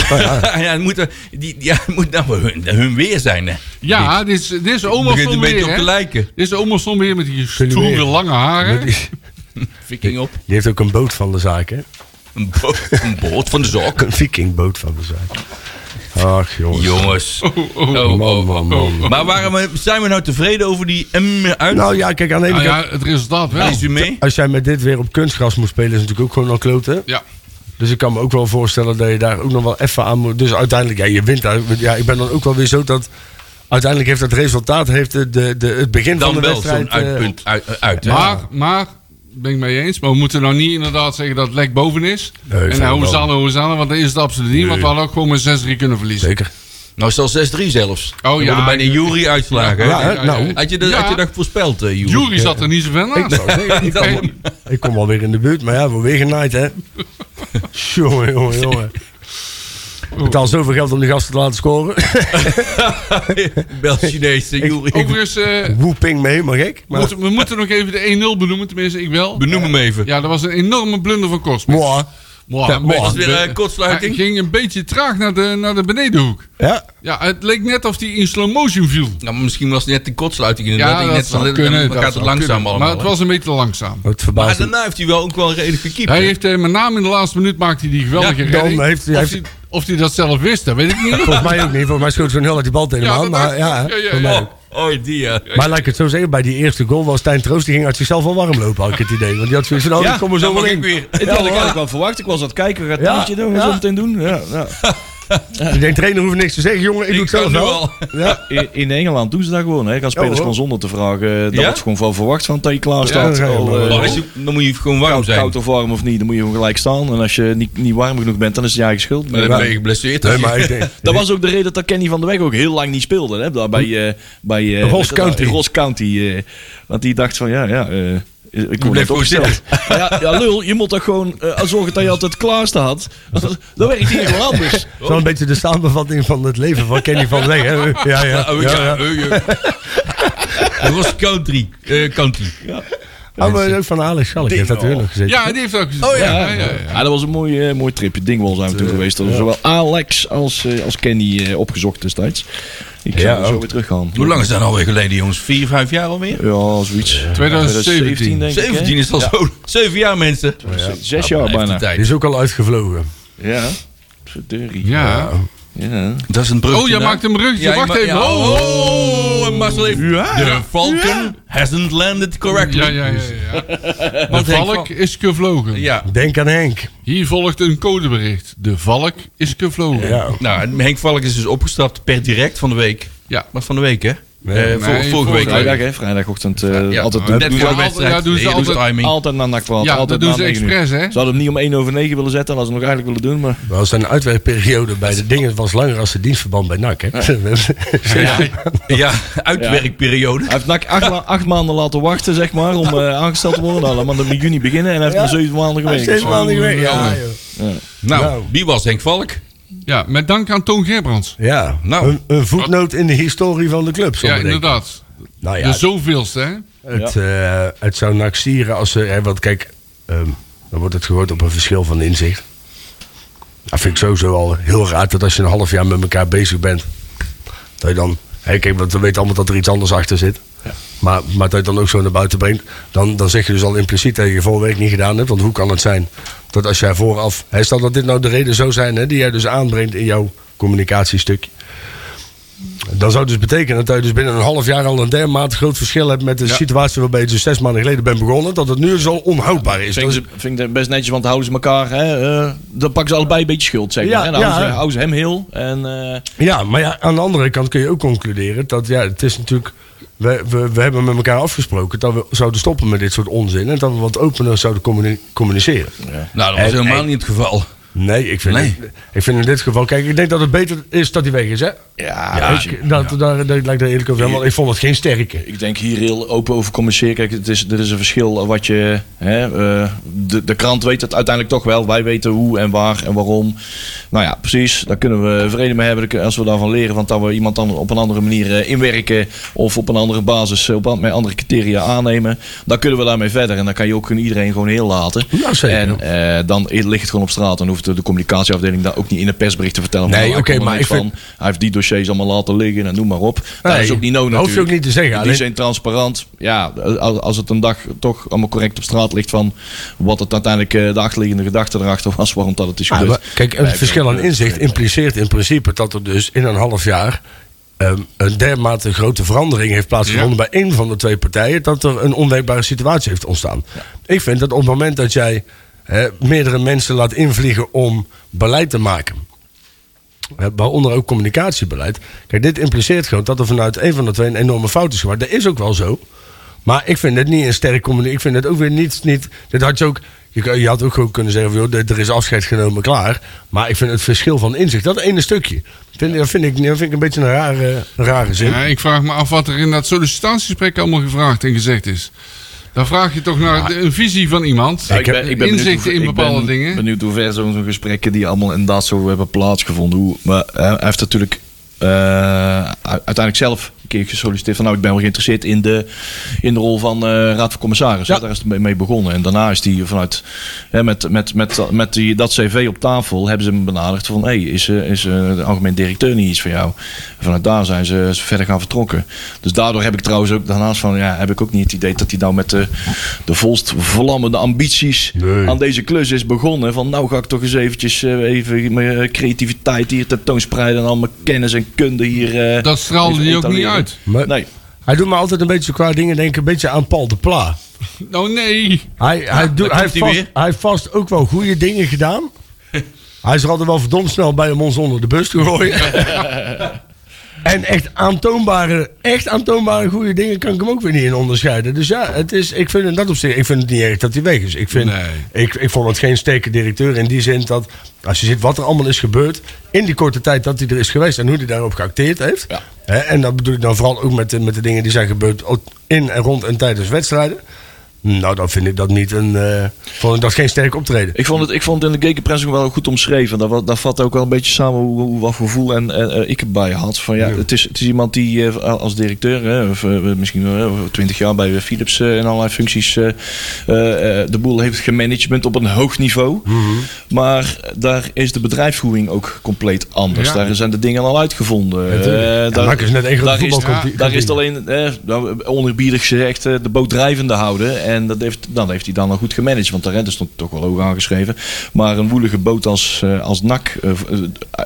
S2: Ja, het moet, er- die, ja, het moet nou wel hun, hun weer zijn. Hè.
S4: Ja, dit is, dit is
S2: Het
S4: oma
S2: begint een
S4: van
S2: beetje
S4: weer,
S2: op
S4: hè?
S2: te lijken.
S4: Dit is oma van weer met die
S3: Zullen we-
S4: stoere lange haren.
S3: Die,
S2: Viking op.
S3: die heeft ook een boot van de zaak, hè?
S2: Een, bo een boord van de zak.
S3: Ook een vikingboot van de zaak. Ach, jongens.
S2: Jongens. Oh,
S3: Man, man, man.
S2: Maar waarom eh, zijn we nou tevreden over die M uit?
S3: Nou ja, kijk, aan de
S2: Ah,
S3: ene
S4: Nou
S3: kant...
S4: ja, het resultaat wel.
S2: Lees u mee?
S3: Als jij met dit weer op kunstgras moet spelen, is het natuurlijk ook gewoon al kloten.
S4: Ja.
S3: Dus ik kan me ook wel voorstellen dat je daar ook nog wel even aan moet. Dus uiteindelijk, ja, je wint. daar. Ja, ik ben dan ook wel weer zo dat... Uiteindelijk heeft dat resultaat heeft de, de, de- het begin van
S2: Dan
S3: de
S2: wel
S3: wedstrijd... eh,
S2: zo'n uitpunt uit. eh, uit hè.
S4: Maar, maar, ben ik mee eens. Maar we moeten nou niet inderdaad zeggen dat het lek boven is.
S3: Nee,
S4: en
S3: vind ik wel.
S4: nou, Hoezanne, Hoezanne, want dat is het absoluut niet. Want we hadden ook gewoon met 6-3 kunnen
S3: eh,
S4: verliezen.
S3: zeker.
S2: Nou, stel 6-3 zelfs.
S4: ja,
S2: We worden bij de
S4: ja.
S2: Jury uitslagen.
S3: Ja,
S2: hè?
S3: hè? nou.
S2: Had je dat,
S4: Ja.
S2: had je dat voorspeld, eh, Jury?
S4: Jury zat er niet zo ver naast.
S2: Nee, dat-
S4: Nee.
S3: Ik kom alweer in de buurt, maar ja, we weer genaaid, hè? jongen, jongen, jongen. Betaal zoveel geld om die gasten te laten scoren.
S2: Bel Chinese Jury.
S4: Overigens, eh,
S3: Woeping mee, maar gek. Maar...
S4: moeten- we moeten nog even de 1-0 benoemen. Tenminste, ik wel.
S2: Benoem hem even.
S4: Ja, dat was een enorme blunder van Korsman.
S3: Mooi. Ja,
S4: een
S3: mooi.
S4: beetje-
S2: Was weer, eh, kortsluiting?
S4: Hij ging een beetje traag naar de, naar de benedenhoek.
S3: Ja,
S4: Ja, het leek net of hij in slow motion viel.
S2: Nou, misschien was het net de kortsluiting
S4: Ja,
S2: inderdaad.
S4: dat
S2: net
S4: zou
S2: zo-
S4: kunnen.
S2: Dan
S4: dat
S2: gaat het
S4: zou
S2: langzaam
S4: kunnen.
S2: allemaal.
S4: Maar het
S2: hè?
S4: het was een beetje langzaam.
S3: het
S2: Maar
S3: verbaast me.
S2: Ah, daarna heeft hij wel ook wel redelijk gekiept.
S4: Hij
S2: hè?
S4: heeft eh, met name in de laatste minuut maakte hij die geweldige
S3: Ja, dan
S4: redding.
S3: heeft hij-
S4: of,
S3: heeft-
S4: hij, of hij dat zelf wist, dat weet ik niet.
S3: Volgens mij ook niet. Volgens mij schoot zo'n heel uit die bal tegen hem
S4: Ja,
S3: aan,
S4: dat
S3: Maar
S4: dacht ik.
S3: ja,
S4: Ja, ja,
S3: voor mij
S4: ja.
S3: ook.
S2: Oh, oh, die ja.
S3: Maar laat ik het zo zeggen, bij die eerste goal was Stijn Troost, die ging uit zichzelf al warm lopen, had ik het idee. Want die had zoiets van, oh,
S5: Ja,
S3: ik kom er zo
S2: dan
S3: wel
S2: mag
S3: in.
S2: ik weer.
S5: Ik had ik eigenlijk wel verwacht. Ik was aan het kijken. Gaat
S3: Ja,
S5: Tientje doen?
S3: ja.
S5: Zo meteen doen? Ja, ja.
S3: Ik denk, trainer hoeft niks te zeggen, jongen, ik, doe het
S2: kan
S3: zelf
S2: nu
S3: wel.
S2: al.
S3: Ja,
S5: In, in Engeland doen ze dat gewoon. Hè. Gaan
S3: Ja,
S5: spelers
S3: hoor.
S5: gewoon zonder te vragen. eh, Dat
S2: Ja?
S5: wordt gewoon van verwacht van dat je klaar staat.
S3: Ja, ja,
S5: Al,
S3: ja,
S5: eh,
S2: Maar is het- dan moet je gewoon warm
S5: koud,
S2: zijn.
S5: koud of warm of niet, dan moet je gewoon gelijk staan. En als je niet, niet warm genoeg bent, dan is het je eigen schuld.
S2: Maar dan
S5: Maar-
S2: ben je geblesseerd.
S3: nee, maar ik denk...
S5: Dat was ook de reden dat Kenny van der Weg ook heel lang niet speelde. Hè? Daar Bij, eh, bij eh,
S3: Hm? Ross
S5: weet je dat,
S3: County.
S5: Ross County. eh, want die dacht van, ja, ja... eh, ik
S2: bleef
S5: word net
S2: gewoon
S5: opgesteld. Ja, ja, lul, je moet toch gewoon eh, zorgen dat je altijd klaar staat. Dan werkt hier gewoon anders.
S3: Zo'n een beetje de samenvatting van het leven van Kenny van Lee. hè? Ja, ja, ja.
S2: Oh,
S3: ja.
S2: ja, eh, ja. Dat was country. eh, country.
S3: Oh, maar ook van Alex Schalk heeft dat weer nog gezeten.
S4: Ja, die heeft ook gezegd. Oh
S5: Ja, ja, dat was een mooi, eh, mooi tripje. Dingwall zijn we toen geweest. Dat was zowel Alex als, eh, als Kenny eh, opgezocht destijds. Ik zou
S3: Ja,
S5: er zo
S3: ook.
S5: weer teruggaan.
S2: Hoe lang is dat alweer geleden, jongens? Vier, vijf jaar alweer?
S5: Ja, zoiets.
S4: 2017
S5: denk ik, hè?
S2: 17 is al
S5: Ja, nou.
S2: zo. Zeven jaar, mensen.
S5: Zes jaar
S2: Blijft de
S5: bijna.
S2: tijd.
S3: Die is ook al uitgevlogen.
S5: Ja. Verdurie.
S4: Ja.
S5: Ja.
S2: Dat is een brug.
S4: Oh, jij maakt een bruggetje.
S2: Ja, je
S4: Wacht
S2: ma-
S4: even.
S2: ja.
S4: Oh,
S2: Oh,
S4: oh.
S2: en Marcel heeft... De Falcon hasn't landed correctly.
S4: Ja, ja, ja. ja. De
S2: Want Henk
S4: valk
S2: van-
S4: is gevlogen.
S2: Ja.
S3: Denk aan Henk.
S4: Hier volgt een codebericht. De valk is gevlogen.
S3: Ja.
S2: Nou, en Henk Valk is dus opgestapt per direct van de week.
S4: Ja.
S2: Maar van de week, hè?
S3: Nee,
S2: Eh, vor-
S4: nee,
S2: vorige week.
S4: vorige
S5: Vrijdag, hè? Vrijdagochtend. eh,
S2: Ja,
S5: altijd
S2: net
S5: doen
S2: voor
S5: ze
S2: de
S4: al-
S2: wedstrijd.
S4: ja, doen ze
S2: Nee,
S4: altijd-
S2: timing.
S5: altijd na nakwaad.
S4: Ja,
S5: altijd
S4: dat doen
S5: na
S4: ze
S5: 9 uur.
S4: expres, hè?
S5: Ze hadden hem niet om 1 over 9 willen zetten, hadden ze hem nog eigenlijk willen doen. Maar
S3: Wel zijn uitwerkperiode bij de dingen was langer als de dienstverband bij NAC. Hè?
S2: Ja, ja, uitwerkperiode.
S5: hij heeft NAC acht, la- acht maanden laten wachten, zeg maar, om eh, aangesteld te worden. Nou, laat maar dan in juni beginnen en hij heeft maar zeven maanden gewerkt.
S3: Steeds wel niet meer. Ja, joh.
S2: Nou,
S3: Nou.
S2: wie was Henk Valk?
S4: Ja, met dank aan Toon Gerbrands.
S3: ja.
S2: Nou.
S3: een, een voetnoot in de historie van de club. zal
S4: Ja,
S3: ik denken.
S4: inderdaad. Dus,
S3: Nou ja,
S4: De zoveelste, hè?
S3: Het, eh, het zou NAC stieren als ze... Hè, want kijk, ehm, dan wordt het gehoord op een verschil van inzicht. Dat vind ik sowieso al heel raar dat als je een half jaar met elkaar bezig bent... dat je dan... Hè, kijk, want we weten allemaal dat er iets anders achter zit. Maar, maar dat je het dan ook zo naar buiten brengt... dan, dan zeg je dus al impliciet dat je je vorige week niet gedaan hebt. Want hoe kan het zijn dat als jij vooraf... Hè, stel dat dit nou de reden zou zijn hè, die jij dus aanbrengt in jouw communicatiestukje... Dan zou het dus betekenen dat je dus binnen een half jaar al een dermate groot verschil hebt met de situatie waarbij je dus zes maanden geleden bent begonnen. Dat het nu dus al onhoudbaar is.
S5: Vind ik,
S3: Dat is-
S5: ze- vind ik best netjes, want dan houden ze elkaar. Hè, eh, dan pakken ze allebei een beetje schuld, zeg maar.
S3: Ja,
S5: hè. dan
S3: ja,
S5: houden, ze,
S3: hè.
S5: houden ze hem heel. En, eh,
S3: ja, maar ja, aan de andere kant kun je ook concluderen dat ja, het is natuurlijk. We, we, we hebben met elkaar afgesproken dat we zouden stoppen met dit soort onzin. En dat we wat opener zouden communi- communiceren.
S2: Nou, dat was
S3: En-
S2: helemaal
S3: en-
S2: niet het geval.
S3: Nee, ik vind,
S2: Nee.
S3: ik vind in dit geval. Kijk, ik denk dat het beter is dat hij weg is, hè?
S5: ja,
S3: Ja,
S5: weet je.
S3: ik, dat, Daar, daar lijkt er eerlijk over. zijn, want ik vond het geen sterke.
S5: Ik denk hier heel open over communiceren. Kijk, het is, er is een verschil wat je. Hè, eh, de, de krant weet het uiteindelijk toch wel. Wij weten hoe en waar en waarom. Nou ja, precies. Daar kunnen we vrede mee hebben. Daar- Als we daarvan leren. Want dat we iemand dan op een andere manier eh, inwerken. Of op een andere basis. eh, Op, an- met andere criteria aannemen. Dan kunnen we daarmee verder. En dan kan je ook iedereen gewoon heel laten.
S3: Ja, zeker.
S5: En eh, dan ligt het gewoon op straat. Dan hoeft de, de communicatieafdeling daar ook niet in een persbericht te vertellen. van,
S3: Nee,
S5: nou, hij
S3: oké,
S5: kon er
S3: maar
S5: niks
S3: ik vind-
S5: van. Hij heeft die dossiers allemaal laten liggen. En noem maar op. dat
S3: Nee,
S5: is ook niet nodig.
S3: dat hoef je ook
S5: natuurlijk.
S3: niet te zeggen,
S5: In die
S3: alleen-
S5: zin en transparant. Ja, als als het een dag toch allemaal correct op straat ligt van wat het uiteindelijk eh, de achterliggende gedachte erachter was, waarom dat het is
S3: Ja,
S5: gebeurd.
S3: Ah, maar kijk, het
S5: Nee,
S3: verschil
S5: ik-
S3: aan inzicht impliceert in principe dat er dus in een half jaar ehm, een dermate grote verandering heeft plaatsgevonden bij één van de twee partijen, dat er een onwerkbare situatie heeft ontstaan. Ik vind dat op het moment dat jij hè, meerdere mensen laat invliegen om beleid te maken, hè, waaronder ook communicatiebeleid, kijk, dit impliceert gewoon dat er vanuit één van de twee een enorme fout is gemaakt. Dat is ook wel zo. Maar ik vind het niet een sterk communicatie. Ik vind het ook weer niet. niet dit had je, ook, je, je had ook gewoon kunnen zeggen: van, joh, dit- er is afscheid genomen, klaar. Maar ik vind het verschil van inzicht, dat ene stukje. Vind, dat, vind ik, dat vind ik een beetje een rare, een rare zin.
S4: Ja, ik vraag me af wat er in dat sollicitatiegesprek allemaal gevraagd en gezegd is. Dan vraag je toch naar de, een visie van iemand.
S5: Ja, ik ben, ik ben benieuwd
S4: inzichten
S5: hoe-
S4: in
S5: ik ben
S4: bepaalde dingen.
S5: benieuwd hoe ver zo'n zo'n gesprekken die allemaal inderdaad zo hebben plaatsgevonden. Hoe, maar eh, hij heeft natuurlijk eh, u- uiteindelijk zelf een keer gesolliciteerd van nou ik ben wel geïnteresseerd in de, in de rol van eh, raad van commissaris. hè. Daar is hij mee- mee begonnen. En daarna is hij vanuit hè, met, met, met, met die, dat cv op tafel hebben ze hem benaderd van hey, is, eh, is eh, de algemeen directeur niet iets voor jou? Vanuit daar zijn ze ze verder gaan vertrokken. Dus daardoor heb ik trouwens ook daarnaast van ja, heb ik ook niet het idee dat hij nou met de, de volst vlammende ambities
S3: Nee.
S5: aan deze klus is begonnen. Van nou ga ik toch eens eventjes eh, even mijn eh, creativiteit hier tentoonspreiden. En al mijn kennis en kunde hier. eh
S4: Dat straalde
S5: even
S4: hij ook niet
S5: etaleren.
S4: uit.
S3: Maar
S5: Nee.
S3: Hij doet me altijd een beetje qua dingen denken, een beetje aan Paul de Pla.
S4: Nou, nee.
S3: Hij, hij, doet,
S2: daar
S3: hij,
S2: komt
S3: heeft
S2: hij
S3: vast,
S2: weer.
S3: hij heeft vast ook wel goede dingen gedaan. hij is er altijd wel verdomd snel bij om ons onder de bus te gooien. en echt aantoonbare, echt aantoonbare goede dingen kan ik hem ook weer niet in onderscheiden. Dus ja, het is, ik vind in dat opzicht, ik vind het niet erg dat hij weg is. Ik, vind,
S4: Nee.
S3: ik, ik vond het geen sterke directeur in die zin dat als je ziet wat er allemaal is gebeurd in die korte tijd dat hij er is geweest en hoe hij daarop geacteerd heeft.
S5: Ja.
S3: Hè, en dat bedoel ik dan vooral ook met de, met de dingen die zijn gebeurd ook in en rond en tijdens wedstrijden. Nou, dan vind ik dat niet een. eh, vond ik dat geen sterk optreden.
S5: Ik vond het, ik vond het in de Gekenpress ook wel goed omschreven. Daar, wa- daar vat ook wel een beetje samen hoe, hoe, wat voor gevoel en, eh, eh, ik erbij had. Van, ja, het, is, het is iemand die eh, als directeur, hè, of, eh, misschien twintig jaar bij Philips eh, in allerlei functies, eh, eh, eh, de boel heeft gemanagement op een hoog niveau.
S3: Mhm.
S5: Maar daar is de bedrijfsvoering ook compleet anders.
S4: Ja.
S5: Daar zijn de dingen al uitgevonden. Eh, daar-
S3: Nak is net één grote
S5: daar is,
S3: voetbalkantine.
S5: daar is het alleen, eh, nou, onerbiedig gezegd, eh, de boot drijvende houden. En dat heeft, dan heeft hij dan al goed gemanaged. Want de rente stond toch wel hoog aangeschreven. Maar een woelige boot als, eh, als NAC, eh, v- eh,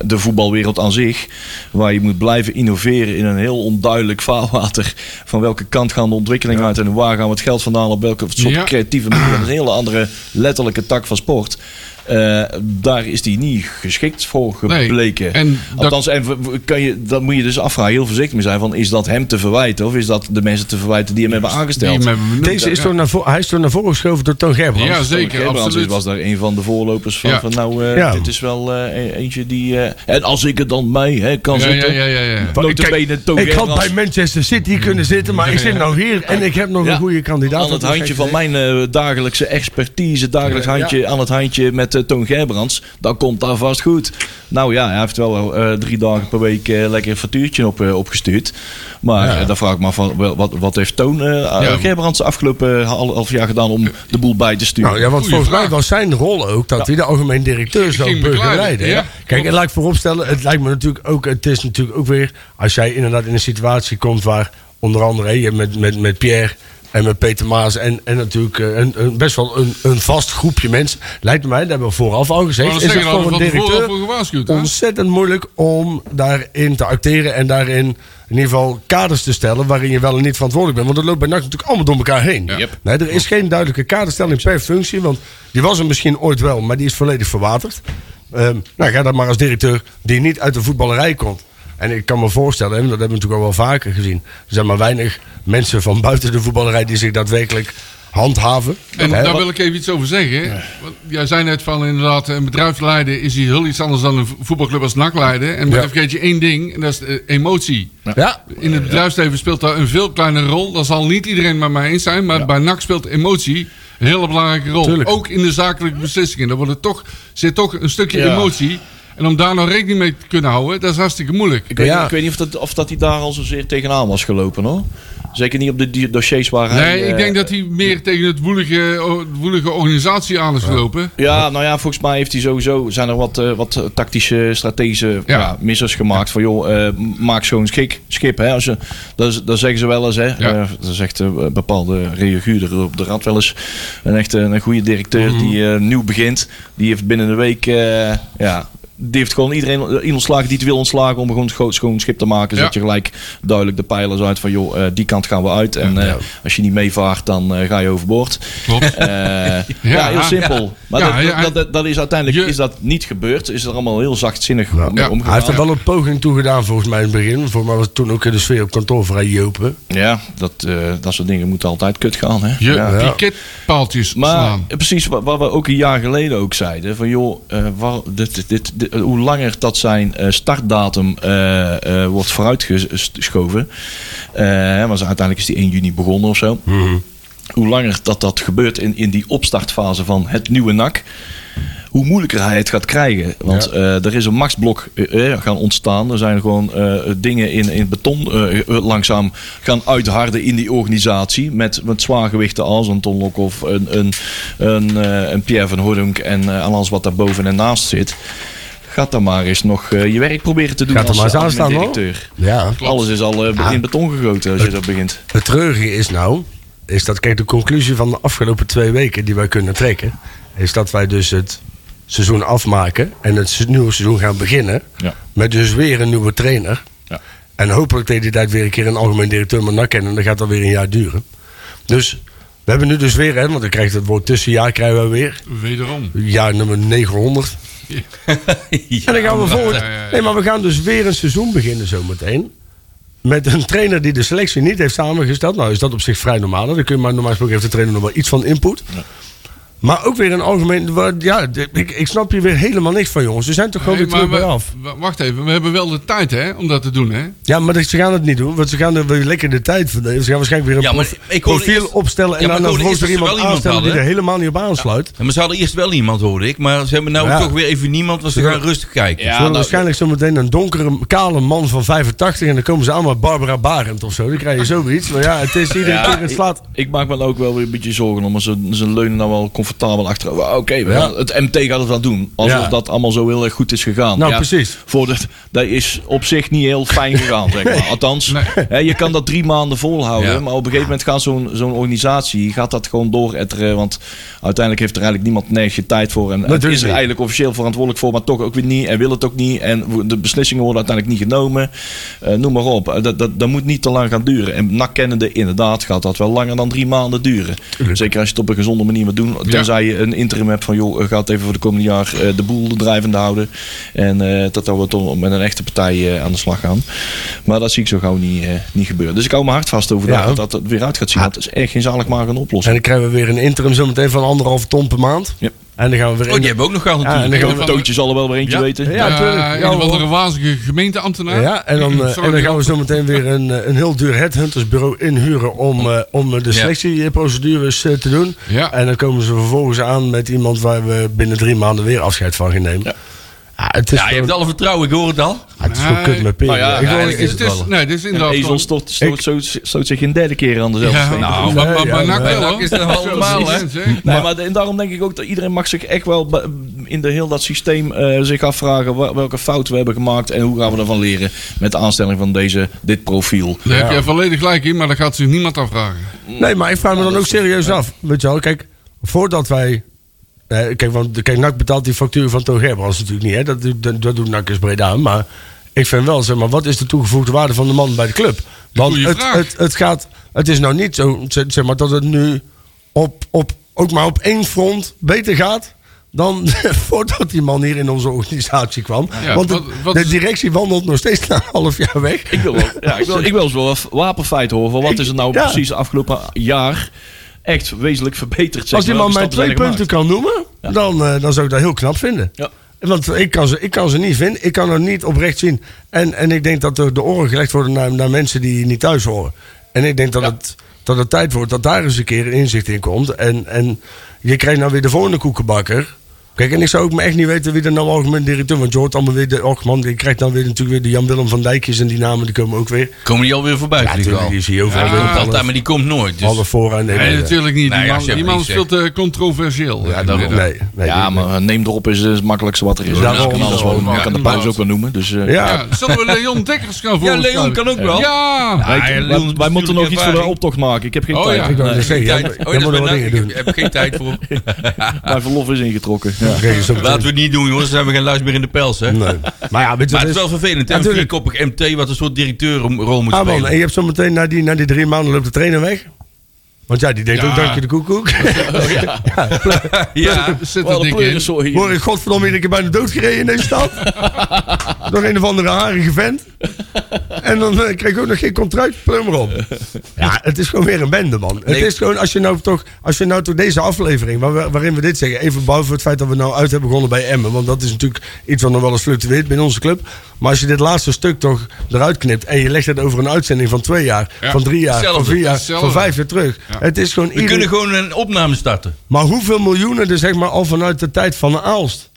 S5: de voetbalwereld aan zich. Waar je moet blijven innoveren in een heel onduidelijk vaarwater. Van welke kant gaan de ontwikkelingen uit en waar gaan we het geld vandaan? Op welke soort
S4: Ja.
S5: creatieve manier? Dat is een hele andere letterlijke tak van sport. Eh, daar is die niet geschikt voor
S4: Nee.
S5: gebleken.
S4: En dat-
S5: Althans, en w- w- kan je, dan moet je dus afvragen, heel voorzichtig mee zijn: van, is dat hem te verwijten of is dat de mensen te verwijten die hem hebben aangesteld?
S4: Die hebben we benoemd,
S3: Deze is
S4: ja.
S3: toch naar vo- hij is toch naar voren geschoven door Toon Gerbrands.
S4: Ja, zeker,
S5: Gerbrands dus
S4: absoluut.
S5: was daar een van de voorlopers van.
S4: Ja.
S5: van nou, eh,
S3: Ja.
S5: dit is wel eh, e- eentje die. eh, en als ik het dan mee hè, kan
S4: Ja, ja,
S5: zitten.
S4: ja, ja, ja.
S3: Want
S5: Nota
S3: kijk,
S5: bene Toon
S3: ik had
S5: Gerbrands.
S3: bij Manchester City kunnen zitten, maar ik zit nou hier en ik heb nog
S5: Ja.
S3: een goede kandidaat.
S5: Aan het
S3: Dat is
S5: handje
S3: echt-
S5: van mijn eh, dagelijkse expertise, dagelijks handje, aan het handje met eh, Toon Gerbrands, dan komt daar vast goed. Nou ja, hij heeft wel eh, drie dagen per week eh, lekker een factuurtje op, eh, opgestuurd. Maar eh, dan vraag ik me af, van, wel, wat, wat heeft Toon eh, Gerbrands de afgelopen eh, hal- half jaar gedaan om de boel bij te sturen?
S3: Nou ja, want
S4: Goeie
S3: volgens mij
S4: vraag.
S3: was zijn rol ook dat hij de algemeen directeur
S4: Ik
S3: zou
S4: ging begeleiden,
S3: begeleiden.
S4: ja.
S3: hè. Kijk, en laat ik vooropstellen, het lijkt me natuurlijk ook, het is natuurlijk ook weer, als jij inderdaad in een situatie komt waar onder andere hè, je met, met, met Pierre en met Peter Maas en, en natuurlijk eh, een, een- best wel een, een vast groepje mensen, lijkt mij, dat hebben we vooraf al gezegd,
S4: Maar
S3: is
S4: nou dat
S3: het
S4: zeggen we
S3: voor een
S4: van tevoren
S3: directeur
S4: voor gewaarschuwd, hè?
S3: ontzettend moeilijk om daarin te acteren en daarin in ieder geval kaders te stellen waarin je wel en niet verantwoordelijk bent. Want dat loopt bij NAC natuurlijk allemaal door elkaar heen.
S5: Yep.
S3: Nee, er is geen duidelijke kaderstelling per functie. Want die was er misschien ooit wel, maar die is volledig verwaterd. Ehm, nou, ga dan maar als directeur die niet uit de voetballerij komt. En ik kan me voorstellen, en dat hebben we natuurlijk al wel vaker gezien. Er zijn maar weinig mensen van buiten de voetballerij die zich daadwerkelijk handhaven.
S4: En
S3: Hè,
S4: daar
S3: wat-
S4: wil ik even iets over zeggen. Want jij zei net van inderdaad, een bedrijf leiden is hier heel iets anders dan een vo- voetbalclub als NAC leiden. En maar
S3: Ja.
S4: dan vergeet je één ding, en dat is eh, emotie.
S3: ja,
S4: In het bedrijfsleven speelt daar een veel kleinere rol. Daar zal niet iedereen maar mee eens zijn. Maar bij NAC speelt emotie een hele belangrijke rol.
S3: Tuurlijk.
S4: Ook in de zakelijke beslissingen. Daar wordt het toch, zit toch een stukje
S5: Ja.
S4: emotie. En om daar nou rekening mee te kunnen houden, dat is hartstikke moeilijk.
S5: Ik weet,
S3: Ja.
S5: niet- ik weet niet of, dat, of dat hij daar al zozeer tegenaan was gelopen hoor. Zeker niet op de di- dossiers waar hij...
S4: Nee, ik
S5: eh,
S4: denk dat hij meer tegen het woelige, o- woelige organisatie aan is gelopen.
S5: Ja, nou ja, volgens mij heeft hij sowieso, zijn er wat, eh, wat tactische, strategische
S4: Ja.
S5: ja, missers gemaakt. Van joh, eh, m- maak zo'n schik, schip. Hè, als je, dat, is- dat zeggen ze wel eens. Hè,
S4: Ja.
S5: Eh, dat zegt eh, een bepaalde reaguurder op de rad wel eens. Een echt een goede directeur
S4: Mhm.
S5: die eh, nieuw begint. Die heeft binnen een week, eh, ja, die heeft gewoon iedereen eh, ontslagen die het wil ontslagen. Om gewoon een scho- schoon schip te maken.
S4: Ja.
S5: Zodat je gelijk duidelijk de pijlers uit van joh, eh, die kant gaan we uit. En eh, als je niet meevaart, dan eh, ga je overboord.
S4: Klopt.
S5: Eh, ja, heel simpel. Maar
S4: Ja,
S5: dat,
S4: ja,
S5: dat, dat, dat is uiteindelijk
S4: Je-
S5: is dat niet gebeurd. Is er allemaal heel zachtzinnig om-
S4: Ja.
S5: omgegaan.
S3: hij heeft er wel een poging toe gedaan volgens mij in het begin. Volgens mij was het toen ook in de sfeer op kantoor vrij jopen.
S5: Ja, dat, eh, dat soort dingen moeten altijd kut gaan. Hè?
S4: Je
S5: Ja.
S4: piketpaaltjes
S5: Maar
S4: slaan.
S5: eh, precies wat, wat we ook een jaar geleden ook zeiden. Van joh, eh, waar- dit, dit, dit- eh, hoe langer dat zijn eh, startdatum eh, eh, wordt vooruitgeschoven. eh, hè, want uiteindelijk is die 1 juni begonnen of zo.
S4: Mhm.
S5: Hoe langer dat dat gebeurt in, in die opstartfase van het nieuwe NAC. Hoe moeilijker hij het gaat krijgen. Want eh, er is een machtsblok eh, eh, gaan ontstaan. Er zijn gewoon eh, dingen in, in beton eh, eh, langzaam gaan uitharden in die organisatie. Met, met zwaargewichten als een Ton Lokhoff, een, een, een, eh, een Pierre van Hordunk en eh, aan alles wat daar boven en naast zit. Gaat dan maar eens nog eh, je werk proberen te doen
S3: Gaat er
S5: als
S3: maar eens aan staan hoor.
S5: directeur.
S3: Ja.
S5: Alles is al eh, in beton gegoten als je dat begint.
S3: Het treurige is nou, is dat kijk de conclusie van de afgelopen twee weken die wij kunnen trekken, is dat wij dus het seizoen afmaken en het se- nieuwe seizoen gaan beginnen
S5: Ja.
S3: met dus weer een nieuwe trainer.
S5: Ja.
S3: En hopelijk tegen die tijd weer een keer een algemeen directeur met NAC en dan gaat dat weer een jaar duren. Dus we hebben nu dus weer, hè, want dan krijgt het woord tussenjaar krijgen we weer,
S4: Wederom.
S3: jaar nummer 900. En dan gaan we volgend. Nee, maar we gaan dus weer een seizoen beginnen zometeen. Met een trainer die de selectie niet heeft samengesteld. Nou, is dat op zich vrij normaal. hè? Dan kun je maar normaal gesproken heeft de trainer nog wel iets van input. Maar ook weer een algemeen. waar- Ja, d- ik, ik snap hier weer helemaal niks van, jongens. Ze zijn toch gewoon
S4: Hey,
S3: weer terug
S4: we-
S3: bij af.
S4: w- Wacht even, we hebben wel de tijd hè, om dat te doen hè.
S3: Ja, maar dat- ze gaan het niet doen. Want ze gaan er weer lekker de tijd voor nemen. Ze gaan waarschijnlijk weer
S2: Ja,
S3: een
S2: maar
S3: prof-
S2: ik hoorde
S3: profiel
S2: eerst-
S3: opstellen. En
S2: Ja, maar
S3: dan
S2: ik hoorde
S3: vervolgens er
S2: eerst dat
S3: iemand
S2: ze wel iemand
S3: aanstellen die er
S2: hadden,
S3: helemaal niet op aansluit.
S2: Ja, maar ze hadden eerst wel iemand, hoorde ik. Maar ze hebben nou
S3: Ja.
S2: toch weer even niemand, want ze gaan rustig kijken.
S3: Ze
S5: Ja,
S3: worden
S5: nou,
S3: waarschijnlijk zometeen een donkere, kale man van 85. En dan komen ze allemaal Barbara Barend of zo. Dan krijg je zoiets. Maar ja, het is iedere
S5: Ja,
S3: keer het slaat.
S5: Ik maak me dan ook wel weer een beetje zorgen om. maar Ze, ze leunen nou wel comfortabel achterover. Oké, we
S3: Ja.
S5: gaan- het MT gaat het wel doen. Alsof
S3: Ja.
S5: dat allemaal zo heel erg goed is gegaan.
S3: Nou, precies.
S5: Voor dat, dat is op zich niet heel fijn gegaan, zeg maar. Althans, hè, je kan dat drie maanden volhouden.
S2: Ja.
S5: Maar op een gegeven moment gaat zo'n zo'n organisatie gaat dat gewoon dooretteren. Want uiteindelijk heeft er eigenlijk niemand nergens je tijd voor. En het
S3: Natuurlijk
S5: is er
S3: niet.
S5: eigenlijk officieel verantwoordelijk voor, maar toch ook weer niet. En wil het ook niet. En wo- de beslissingen worden uiteindelijk niet genomen. Eh, noem maar op. Eh, Dat, dat, dat moet niet te lang gaan duren. En nakkennende, inderdaad, gaat dat wel langer dan drie maanden duren. Zeker als je het op een gezonde manier moet doen. Tenzij je een interim hebt van, joh, eh, ga het even voor de komende jaar eh, de boel drijvende houden. En eh, dat dan we toch met een echte partij eh, aan de slag gaan. Maar dat zie ik zo gauw niet, eh, niet gebeuren. Dus ik hou mijn hart vast over
S3: Ja.
S5: dat, dat het weer uit gaat zien. Dat is echt geen zalig maar een
S3: En
S5: oplossing.
S3: dan krijgen we weer een interim zometeen van anderhalf ton per maand.
S5: Ja.
S3: En dan gaan we weer
S2: Oh,
S3: in-
S2: die hebben we ook nog gehad
S3: Ja, en
S2: natuurlijk.
S3: dan
S5: En
S3: gaan we
S5: de tootje zal er wel weer eentje
S4: Ja.
S5: weten.
S3: Ja,
S4: Eh,
S3: tuurlijk. Ja,
S4: een of andere
S3: hoor.
S4: wazige gemeenteambtenaar.
S3: Ja, en dan, eh,
S4: Sorry,
S3: en dan gaan we zo meteen weer een, eh, een heel duur headhuntersbureau inhuren om, eh, om eh, de selectieprocedures eh, te doen.
S4: Ja.
S3: En dan komen ze vervolgens aan met iemand waar we binnen drie maanden weer afscheid van gaan nemen. Ja. het
S2: Ja,
S3: is
S2: je
S3: gewoon,
S2: hebt alle vertrouwen, ik hoor het al.
S3: ah, het is gewoon
S4: Nee.
S3: kut met peren.
S5: Nou ja,
S3: Ik wil-
S4: Nee,
S3: ik-
S4: dit is- dit is- Nee, dit is
S5: En
S4: inderdaad...
S5: Ezel stoot, stoot, stoot, stoot zich een derde keer aan dezelfde
S4: Ja,
S5: steen.
S2: Nou,
S4: maar,
S3: Nee,
S4: maar, maar
S3: ja,
S4: NAC
S3: nee.
S4: wel,
S2: NAC
S4: hoor.
S2: is er wel normaal, hè?
S4: Precies,
S5: Nee, maar de- en daarom denk ik ook dat iedereen mag zich echt wel be- in de heel dat systeem eh, zich afvragen wa- welke fouten we hebben gemaakt en hoe gaan we ervan leren met de aanstelling van deze, dit profiel.
S4: Daar heb jij volledig gelijk in, maar dat gaat zich niemand afvragen.
S5: Mm.
S3: Nee, maar ik vraag me dan ook serieus af. Weet je wel, kijk, voordat wij. Eh, kijk, want kijk, NAC betaalt die factuur van Toon Gerbrands natuurlijk niet. Hè? Dat, doet- dat, dat doet NAC eens breed aan. Maar ik vind wel, zeg maar, wat is de toegevoegde waarde van de man bij de club? Want
S4: Goeie
S3: het,
S4: vraag.
S3: het, het gaat. Het is nou niet zo, zeg zeg maar, dat het nu op, op, ook maar op één front beter gaat. Dan voordat die man hier in onze organisatie kwam.
S4: Ja,
S3: Want
S4: wat-
S3: de-
S4: wat
S3: de
S4: is-
S3: directie wandelt nog steeds na een half jaar weg.
S5: Ik wil, wel, ja, ik wil, ik wil eens wel wat wapenfeit horen van wat is er nou
S3: Ja.
S5: precies de afgelopen jaar echt wezenlijk verbeterd. Zeg
S3: Als die
S5: maar,
S3: man mij
S5: welke
S3: twee punten
S5: stappen zijn
S3: kan noemen, dan, eh, dan zou ik dat heel knap vinden.
S5: Ja.
S3: Want ik kan, ze, ik kan ze niet vinden. Ik kan er niet oprecht zien. En, en ik denk dat er de oren gelegd worden naar, naar mensen die niet thuis horen. En ik denk dat, het, dat het tijd wordt dat daar eens een keer een inzicht in komt. En, en je krijgt nou weer de volgende koekenbakker. Kijk, en ik zou ook me echt niet weten wie er nou algemeen directeur... Want je hoort allemaal weer de Ochman. Je krijgt dan nou weer natuurlijk weer de Jan-Willem van Dijkjes. En die namen die komen ook weer.
S2: Komen die alweer voorbij?
S3: Ja,
S2: vind ik
S3: natuurlijk,
S2: wel.
S3: die zie je overal
S2: Die
S3: weer.
S2: komt altijd,
S3: Alles-
S2: maar die komt nooit. Dus.
S3: Alle vooraan. en
S4: Nee, natuurlijk niet. Die
S2: Nee,
S4: man,
S2: als je
S4: die
S2: hem
S4: man
S2: niet
S4: is veel te controversieel.
S2: Ja,
S4: Eh,
S2: daarom.
S4: inderdaad.
S3: Nee, nee,
S5: gemaakt? Ja,
S3: die-
S5: maar eh, neem erop is het makkelijkste wat er is.
S3: Daarom.
S5: Dat kan alles wel.
S4: Ja,
S5: Ik kan de
S4: inderdaad.
S5: pauze ook wel noemen. Dus, eh,
S3: Ja.
S4: Ja, zullen we Leon Dekkers gaan
S2: Ja,
S4: volgen?
S2: Leon kan ook wel.
S4: Ja!
S5: wij-
S2: Ah, ja, Leon,
S5: wij, wij moeten nog iets voor de
S2: ervaring.
S5: optocht maken. Ik heb geen
S4: Oh,
S5: tijd.
S4: ja.
S3: Ik wou
S5: Nee,
S3: net zeggen, jij-
S2: Tijd-
S3: jij
S2: oh, dat is
S3: moet
S2: bij
S3: nog
S2: NAC.
S3: dingen doen.
S2: Ik heb heb geen tijd voor.
S5: Mijn verlof is ingetrokken. Ja.
S3: Dan krijg je zo meteen-
S2: Laten we het niet doen, jongens. Dan hebben we geen luis meer in de pels, hè?
S3: Nee. Maar ja, weet je,
S2: Maar
S3: dat
S2: het is wel vervelend, hè? Een
S3: Natuurlijk.
S2: vierkoppig MT wat een soort directeurrol moet
S3: Ah, man, en
S2: spelen.
S3: je hebt zometeen na die, na die drie maanden loopt de trainer weg. Want ja, die deed
S4: Ja.
S3: ook dankje de koekoek. ja. ple-
S2: Ja,
S4: Zit er
S5: Wel een
S4: dik in.
S5: pleurensooi hier.
S3: Word ik godverdomme iedere keer bijna doodgereden in deze stad. Door een of andere harige vent. En dan eh, kreeg ik ook nog geen contract. Plum erop. Ja, het is gewoon weer een bende, man. Het
S2: Nee.
S3: is gewoon, als je nou toch, als je nou toch deze aflevering, waar we- waarin we dit zeggen, even bouwen voor het feit dat we nou uit hebben begonnen bij Emmen. Want dat is natuurlijk iets wat nog wel eens fluctueert binnen onze club. Maar als je dit laatste stuk toch eruit knipt en je legt het over een uitzending van twee jaar,
S4: Ja,
S3: van drie jaar, van
S2: hetzelfde,
S3: vier jaar,
S4: hetzelfde.
S3: van vijf jaar terug. Het is gewoon
S2: We
S3: ieder-
S2: kunnen gewoon een opname starten.
S3: maar hoeveel miljoenen er zeg maar al vanuit de tijd van de Aalst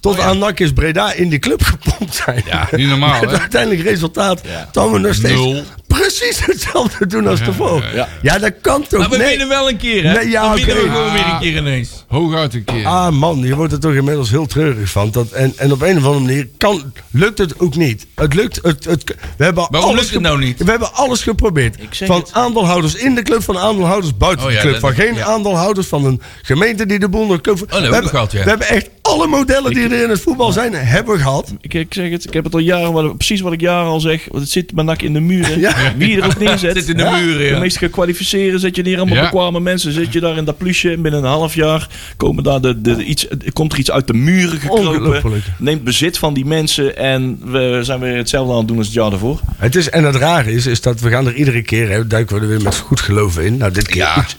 S3: tot aan NAC is Breda in die club gepompt zijn.
S4: Oh Ja, niet normaal,
S3: Met
S4: hè?
S3: uiteindelijk resultaat dat we nog steeds
S4: Nul.
S3: precies hetzelfde doen als tevoren. Ja,
S5: ja.
S3: dat kan toch
S2: Maar we
S3: nee.
S2: winnen wel een keer, hè?
S3: Nee, ja,
S2: Dan winnen we
S3: oké.
S2: gewoon weer een keer ineens.
S4: Hooguit een keer.
S3: Ah man, je wordt er toch inmiddels heel treurig van. Dat, en, en op een of andere manier kan, lukt het ook niet. Het lukt, het, het, we hebben
S2: Waarom
S3: alles
S2: lukt het
S3: gep-
S2: nou niet?
S3: We hebben alles geprobeerd.
S5: zeg
S3: Van
S5: het.
S3: aandeelhouders in de club, van aandeelhouders buiten
S2: Oh
S3: de
S2: ja,
S3: club.
S2: dat-
S3: van geen
S2: ja. Oh,
S3: aandeelhouders van een gemeente die de boel naar de club...
S2: hebben we
S3: we, hebben,
S2: gehad, ja.
S3: we hebben echt alle modellen die er in het voetbal zijn, hebben we gehad.
S5: Ik, ik zeg het, ik heb het al jaren, wat- precies wat ik jaren al zeg. Want het zit mijn nak in de muren.
S3: Ja.
S5: Wie je er ook neerzet.
S2: Zit in de muren, ja.
S5: De meest gekwalificeerde zet je neer. Allemaal
S4: Ja.
S5: bekwame mensen. Zet je daar in dat plusje. En binnen een half jaar komen daar de, de, iets, komt er iets uit de muren gekropen.
S3: Ongelooflijk.
S5: Neemt bezit van die mensen. En we zijn weer hetzelfde aan het doen als het jaar daarvoor.
S3: Het is, en het rare is, is dat we gaan er iedere keer, hè, duiken we er weer met goed geloof in. Nou, dit keer
S2: Ja.
S3: iets,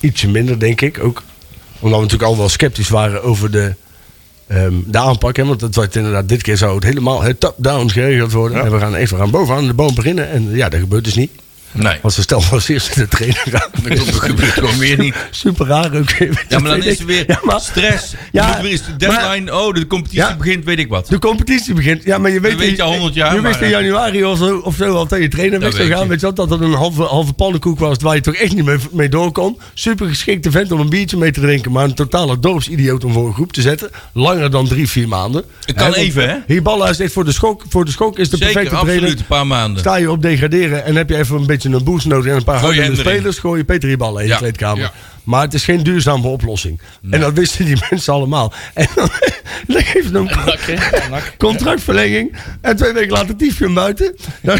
S3: ietsje minder, denk ik ook. Omdat we natuurlijk al wel sceptisch waren over de, ehm, de aanpak. Hè? Want het werd inderdaad, dit keer zou het helemaal hè, top-down geregeld worden. En we gaan even gaan bovenaan de boom beginnen. En ja, dat gebeurt dus niet.
S2: Nee.
S3: Want ze stelden als eerste de trainer aan.
S2: Dat gebeurt gewoon weer niet.
S3: Super raar ook.
S2: Ja, maar dan is er weer stress.
S3: Ja,
S2: Ja, weer is de deadline. oh, de competitie
S3: Ja.
S2: begint, weet ik wat.
S3: De competitie begint. Ja, maar je weet,
S2: Dat weet je al 100 jaar,
S3: Je wist
S2: maar,
S3: in
S2: eh,
S3: januari of zo, of zo al tegen je trainer weg
S2: Dat
S3: zou
S2: weet
S3: gaan.
S2: je.
S3: Weet je wel, dat het een halve, halve pannenkoek was waar je toch echt niet mee, mee door kon. Super geschikte vent om een biertje mee te drinken. Maar een totale dorpsidioot om voor een groep te zetten. Langer dan drie, vier maanden.
S2: Het kan
S3: Hè, want
S2: even, hè?
S3: Hiballa is echt voor de schok. Voor de schok is de
S2: Zeker,
S3: perfecte trainer.
S2: absoluut. Een paar maanden.
S3: Sta je op degraderen en heb je even een beetje een boost nodig en een paar
S2: Gooi je
S3: harde
S2: hem erin.
S3: spelers, gooi je Peter Hiballa in
S2: Ja,
S3: de kleedkamer.
S4: ja.
S3: Maar het is geen duurzame oplossing. En dat wisten die mensen allemaal. En dan, dan geeft het een contractverlenging. En twee weken later dief je hem buiten. Dan-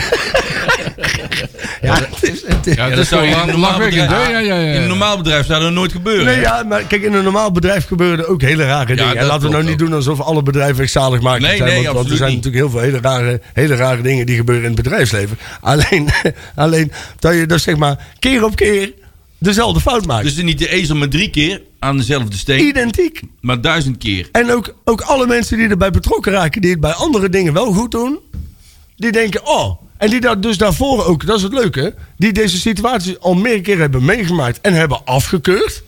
S3: ja, dus het is... Het is-
S4: Ja,
S2: Ja,
S4: dat
S2: dat
S4: is
S2: zou
S4: gewoon
S2: je in een normaal
S4: lachwekkend.
S2: bedrijf,
S4: hè? Ja, ja, ja.
S2: In een normaal bedrijf zou dat nooit gebeuren.
S3: Nee, ja, maar kijk, in een normaal bedrijf gebeuren ook hele rare dingen.
S2: dat
S3: En laten we nou
S2: klopt
S3: niet doen alsof alle bedrijven echt zalig maken
S2: Nee,
S3: zijn.
S2: nee,
S3: want, want er
S2: absoluut
S3: zijn
S2: niet.
S3: natuurlijk heel veel hele rare, hele rare dingen die gebeuren in het bedrijfsleven. Alleen, alleen dat je dus zeg maar keer op keer dezelfde fout maakt.
S2: Dus het is niet de ezel maar drie keer aan dezelfde steen,
S3: Identiek.
S2: maar duizend keer.
S3: En ook, ook alle mensen die erbij betrokken raken, die het bij andere dingen wel goed doen, die denken, oh. En die dat dus daarvoor ook, dat is het leuke, hè, die deze situatie al meer keer hebben meegemaakt en hebben afgekeurd.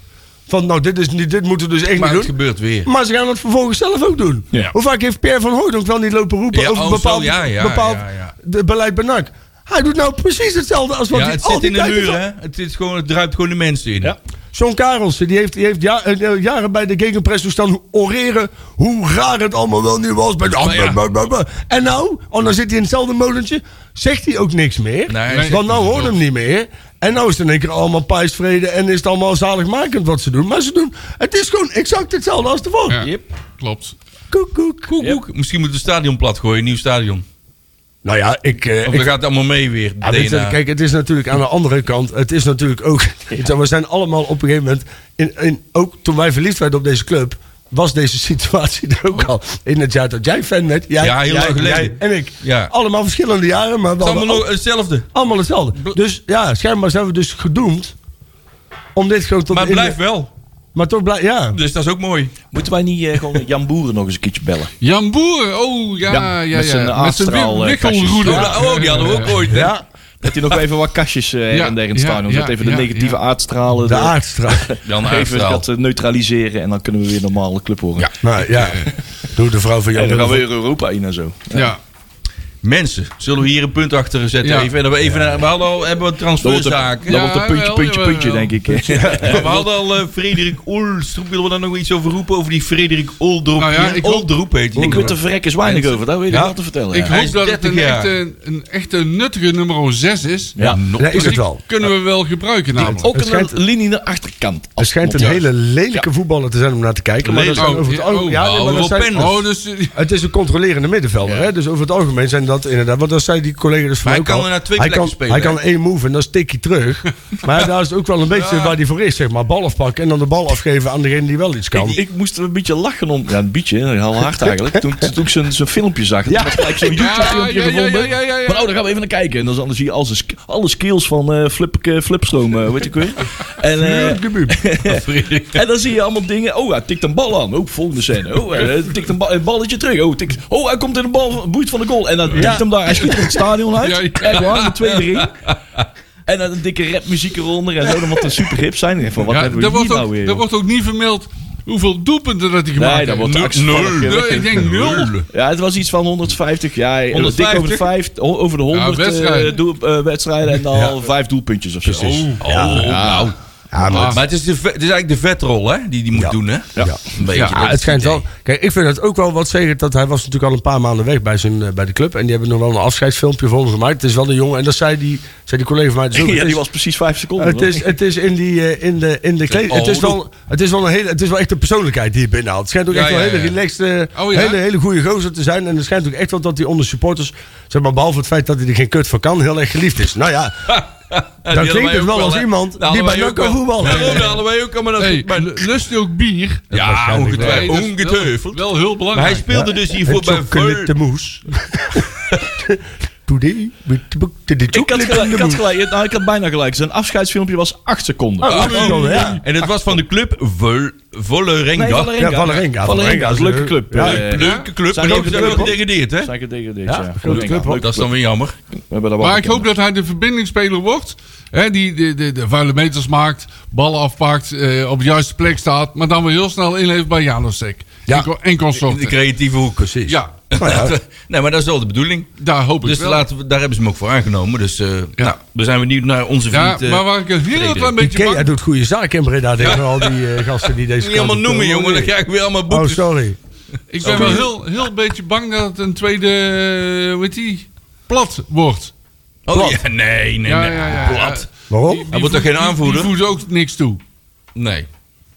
S3: Van nou, dit, is niet, dit moeten we dus echt
S2: Maar
S3: niet
S2: het
S3: doen.
S2: gebeurt weer.
S3: Maar ze gaan het vervolgens zelf ook doen.
S5: Ja.
S3: Hoe vaak heeft Pierre van Hooydonk wel niet lopen roepen
S2: Ja,
S3: over
S2: oh, zo,
S3: bepaald,
S2: ja, ja,
S3: bepaald
S2: ja, ja.
S3: De beleid bij NAC? Hij doet nou precies hetzelfde als wat
S2: ja,
S3: hij
S2: het
S3: al
S2: zit
S3: die
S2: in de
S3: tijd
S2: muur,
S3: heeft-
S2: hè? Het, is gewoon, het druipt gewoon de mensen in.
S5: Ja.
S3: John Karelsen, die heeft, die heeft ja- eh, jaren bij de Gegenpress staan oreren hoe raar het allemaal wel nu was.
S2: Maar ja.
S3: Blah, blah, blah. En nou, oh, dan zit hij in hetzelfde molentje, zegt hij ook niks meer.
S2: Nee, hij zegt
S3: want nou
S2: niet
S3: hoort
S2: veel.
S3: hem niet meer. En nou is het in één keer allemaal pijsvrede en is het allemaal zaligmakend wat ze doen. Maar ze doen, het is gewoon exact hetzelfde als tevoren.
S4: Ja,
S5: Yep.
S4: Klopt.
S3: Koek, koek.
S2: Koek, koek. Misschien moeten we het stadion plat gooien, een nieuw stadion.
S3: Nou ja, ik... eh,
S2: Of
S3: ik
S2: dan gaat het allemaal mee weer.
S3: Ja, weet je,
S2: DNA.
S3: kijk, het is natuurlijk aan de andere kant. Het is natuurlijk ook. We zijn allemaal op een gegeven moment. In, in, ook toen wij verliefd werden op deze club. Was deze situatie er ook al? In het jaar dat jij fan werd. Jij,
S2: Ja, heel
S3: jij,
S2: lang geleden.
S3: jij en ik.
S2: Ja.
S3: Allemaal verschillende jaren, maar we
S2: het is
S3: hadden
S2: allemaal nog
S3: al-
S2: hetzelfde.
S3: allemaal hetzelfde. Dus ja, schijnbaar zijn we dus gedoemd. Om dit gewoon tot
S2: Maar het
S3: in de-
S2: blijft wel.
S3: Maar toch blijft. Ja.
S2: Dus dat is ook mooi.
S5: Moeten wij niet eh, gewoon Jan Boeren nog eens een keertje bellen?
S4: Jan Boer, oh ja, ja,
S5: Ja,
S4: ja.
S5: met zijn
S4: Met zijn
S5: afstraal,
S4: wi-
S5: eh,
S4: wikkelroeder.
S2: Oh, oh, die hadden we ook ooit. hè?
S3: Ja,
S5: Dat hij nog even wat kastjes eh, her
S4: Ja,
S5: en der in het
S4: ja,
S5: stadion zet.
S4: ja,
S5: Even de
S4: ja,
S5: negatieve
S4: ja.
S5: aardstralen.
S3: de
S5: de-
S3: aardstraat.
S2: Dan
S5: even
S2: Aardstraal.
S5: dat eh, neutraliseren en dan kunnen we weer normale club horen.
S4: Ja.
S3: Nou ja. Doe de vrouw van
S5: En dan gaan we
S3: jou.
S5: weer Europa in en zo.
S4: Ja,
S2: Mensen, zullen we hier een punt achter zetten?
S4: Ja.
S2: Even, en dan we, even naar, we hadden al hebben we
S5: Dan wordt een,
S2: transferzaken.
S5: dan wordt een
S4: Ja,
S5: puntje,
S4: jawel,
S5: puntje,
S4: jawel.
S5: puntje, denk ik.
S2: Ja, we hadden al eh, Frederik Oldroep. Willen we daar nog iets over roepen? Over die Frederik Oldroep.
S4: Nou ja, ik hoop-
S2: Oldroep heet hij.
S5: Ik weet er verrekkers weinig over, daar weet ik
S3: Ja.
S5: wel te vertellen.
S4: ik
S5: ja.
S2: hij is
S4: hoop dat het
S2: 30
S4: een
S2: jaar.
S4: echte, een echte nuttige nummer 6 is.
S5: Ja.
S3: Ja, is het
S4: Die
S3: wel.
S4: kunnen we wel gebruiken namelijk.
S5: Ook
S3: Het schijnt-
S5: een linie naar achterkant.
S3: Het schijnt een hele lelijke voetballer te zijn om naar te kijken. Maar dat
S2: Lelijk.
S3: zijn over het
S4: Oh,
S3: algemeen. Ja, nee,
S2: oh,
S3: maar dat
S2: Rob
S3: zijn-
S2: Penders.
S4: Oh, dus...
S3: Het is een controlerende middenvelder. Hè? Dus over het algemeen zijn dat inderdaad. Want dat zei die collega dus van
S2: hij
S3: ook
S2: kan
S3: al.
S2: er naar twee
S3: hij
S2: plekken
S3: kan,
S2: spelen,
S3: Hij
S2: hè?
S3: kan één move en dan stikt hij terug. maar daar is het ook wel een beetje waar hij voor is. Zeg maar. Bal afpakken en dan de bal afgeven aan degene die wel iets kan.
S5: Ik, ik moest een beetje lachen om. Ja, een beetje, heel hard eigenlijk. Toen, toen ik zijn, zijn filmpje zag. Ja, gelijk zo'n YouTube-filmpje
S4: ja, ja,
S5: gevonden.
S4: ja, ja, ja, ja.
S5: Maar oh, daar gaan we even naar kijken. En dan, dan zie je al zijn sk- alle skills van eh flip, eh, Flipstroom, eh, weet je weer. En, eh,
S2: Frederik.
S5: En dan zie je allemaal dingen. Oh, hij tikt een bal aan. Oh, volgende scène. Oh, hij tikt een, ba- een balletje terug. Oh, tikt, oh, hij komt in de bal, boeit van de goal. En dan tikt hem daar. Hij schiet er het stadion uit.
S4: Ja, ja.
S5: Echt waar, met twee erin. En dan een dikke rapmuziek eronder. En zo, dan moet er super hip zijn. Ik denk van, wat
S4: Ja,
S5: hebben
S4: er
S5: we hier
S4: wordt,
S5: nou
S4: ook,
S5: weer?
S4: er wordt ook niet vermeld hoeveel doelpunten dat hij gemaakt
S5: nee, dat wordt
S4: heeft.
S5: actie-
S4: Nul. Nul. Ik denk nul.
S5: Ja, het was iets van 150. Ja, eh, dik
S2: 150?
S5: over de, vijf, o- over de 100 eh,
S4: wedstrijden.
S5: doel- eh, wedstrijden. En dan al vijf doelpuntjes of zo.
S2: Oh, nou.
S3: Ja, maar
S2: Maar het is, de, ve- het is eigenlijk de vetrol hè, die die moet doen. Hè?
S3: Ja.
S2: Een beetje.
S3: Ja,
S2: dat
S3: het schijnt
S2: idee.
S3: wel. Kijk, ik vind het ook wel wat zeker dat hij was natuurlijk al een paar maanden weg bij, zijn, eh, bij de club. En die hebben nog wel een afscheidsfilmpje voor hem gemaakt. Het is wel een jongen. En dat zei die, zei die collega van mij. dus ook,
S5: Ja,
S3: het is-
S5: die was preedsies vijf seconden.
S3: Het
S5: hoor.
S3: is, het is in, die, eh, in de, in de kleed.
S2: Oh,
S3: Het is,
S2: doe.
S3: wel, het, is wel een hele, het is wel echt een persoonlijkheid die je binnenhaalt. Het schijnt ook
S2: Ja,
S3: echt wel
S2: ja,
S3: een hele
S2: ja.
S3: relaxed, eh,
S4: Oh, ja?
S3: hele, hele goede gozer te zijn. En het schijnt ook echt wel dat hij onder supporters, zeg maar, behalve het feit dat hij er geen kut van kan, heel erg geliefd is. Nou ja,
S2: Ja,
S3: dan
S2: die hadden
S3: klinkt
S2: wij
S3: het
S2: ook
S3: wel als
S2: hè.
S3: iemand
S2: Dat
S3: die
S2: hadden
S3: bij
S2: wij
S3: NAC
S2: ook
S3: kan
S2: wel.
S3: voetballen.
S2: Ja, dat hadden wij ook al, maar dat
S4: Hey,
S2: maar-
S4: lust hij ook bier?
S2: Ja,
S3: waarschijnlijk wel.
S2: ongetwijfeld.
S4: dat is wel-
S2: ongetwijfeld.
S4: Wel heel
S2: Maar hij
S4: belangrijk.
S2: speelde dus hiervoor bij
S3: Chocolate
S2: Ver-
S3: moes. today with the book to the
S5: Ik had,
S3: chocolate
S5: gelijk,
S3: in
S5: ik,
S3: the
S5: had
S3: moon.
S5: gelijk, nou, ik had bijna gelijk. Zijn afscheidsfilmpje was 8 seconden.
S3: Oh, acht seconden, ja.
S2: Ah, En het was van de club Vol Volerenga.
S5: Nee, Valerenga.
S3: Ja, Valerenga.
S5: Valerenga is een leuke club.
S3: Ja,
S5: eh,
S2: Leuk- Leuke club,
S5: Zijn
S2: maar ook
S5: die
S2: zijn
S5: ook
S2: wel
S5: de club?
S2: gedegradeerd, hè?
S5: Zijn gedegradeerd,
S3: Ja,
S5: ja.
S3: grote
S5: Valerenga,
S3: club, hoor.
S5: leuk.
S2: Dat is dan weer jammer.
S5: We hebben daar wel
S4: Maar ik
S5: gekend.
S4: hoop dat hij de verbindingsspeler wordt. Hè, die de, de, de vuile meters maakt, ballen afpakt, eh, op de juiste plek staat. Maar dan weer heel snel inlevert bij Janosek.
S3: Ja.
S4: En, co- en
S2: In de
S4: consorten.
S2: creatieve hoek, precies.
S4: Ja,
S3: Nou
S2: nee, maar dat is wel de bedoeling.
S4: daar hoop ik
S2: Dus
S4: wel.
S2: laten we, daar hebben ze hem ook voor aangenomen. Dus eh
S4: Ja.
S2: nou, we zijn benieuwd naar onze
S4: Ja,
S2: vriend. eh,
S4: maar waar ik een heel
S2: Frederik.
S4: klein beetje
S3: Ikea
S4: bang...
S3: doet goede zaken in Breda tegen al die eh, gasten die deze
S2: niet allemaal
S3: kant op
S2: noemen,
S3: komen.
S2: jongen. Dan krijg ik weer allemaal
S3: eh, Oh,
S2: boekjes.
S3: sorry.
S4: Ik ben wel heel, heel beetje bang dat het een tweede... eh, Hoe heet die? Plat wordt.
S2: Oh, ja, nee, nee,
S4: Ja,
S2: nee.
S4: ja, ja.
S2: Plat.
S3: Waarom?
S2: Hij wordt toch geen aanvoerder?
S4: Die voert ook niks toe.
S2: Nee.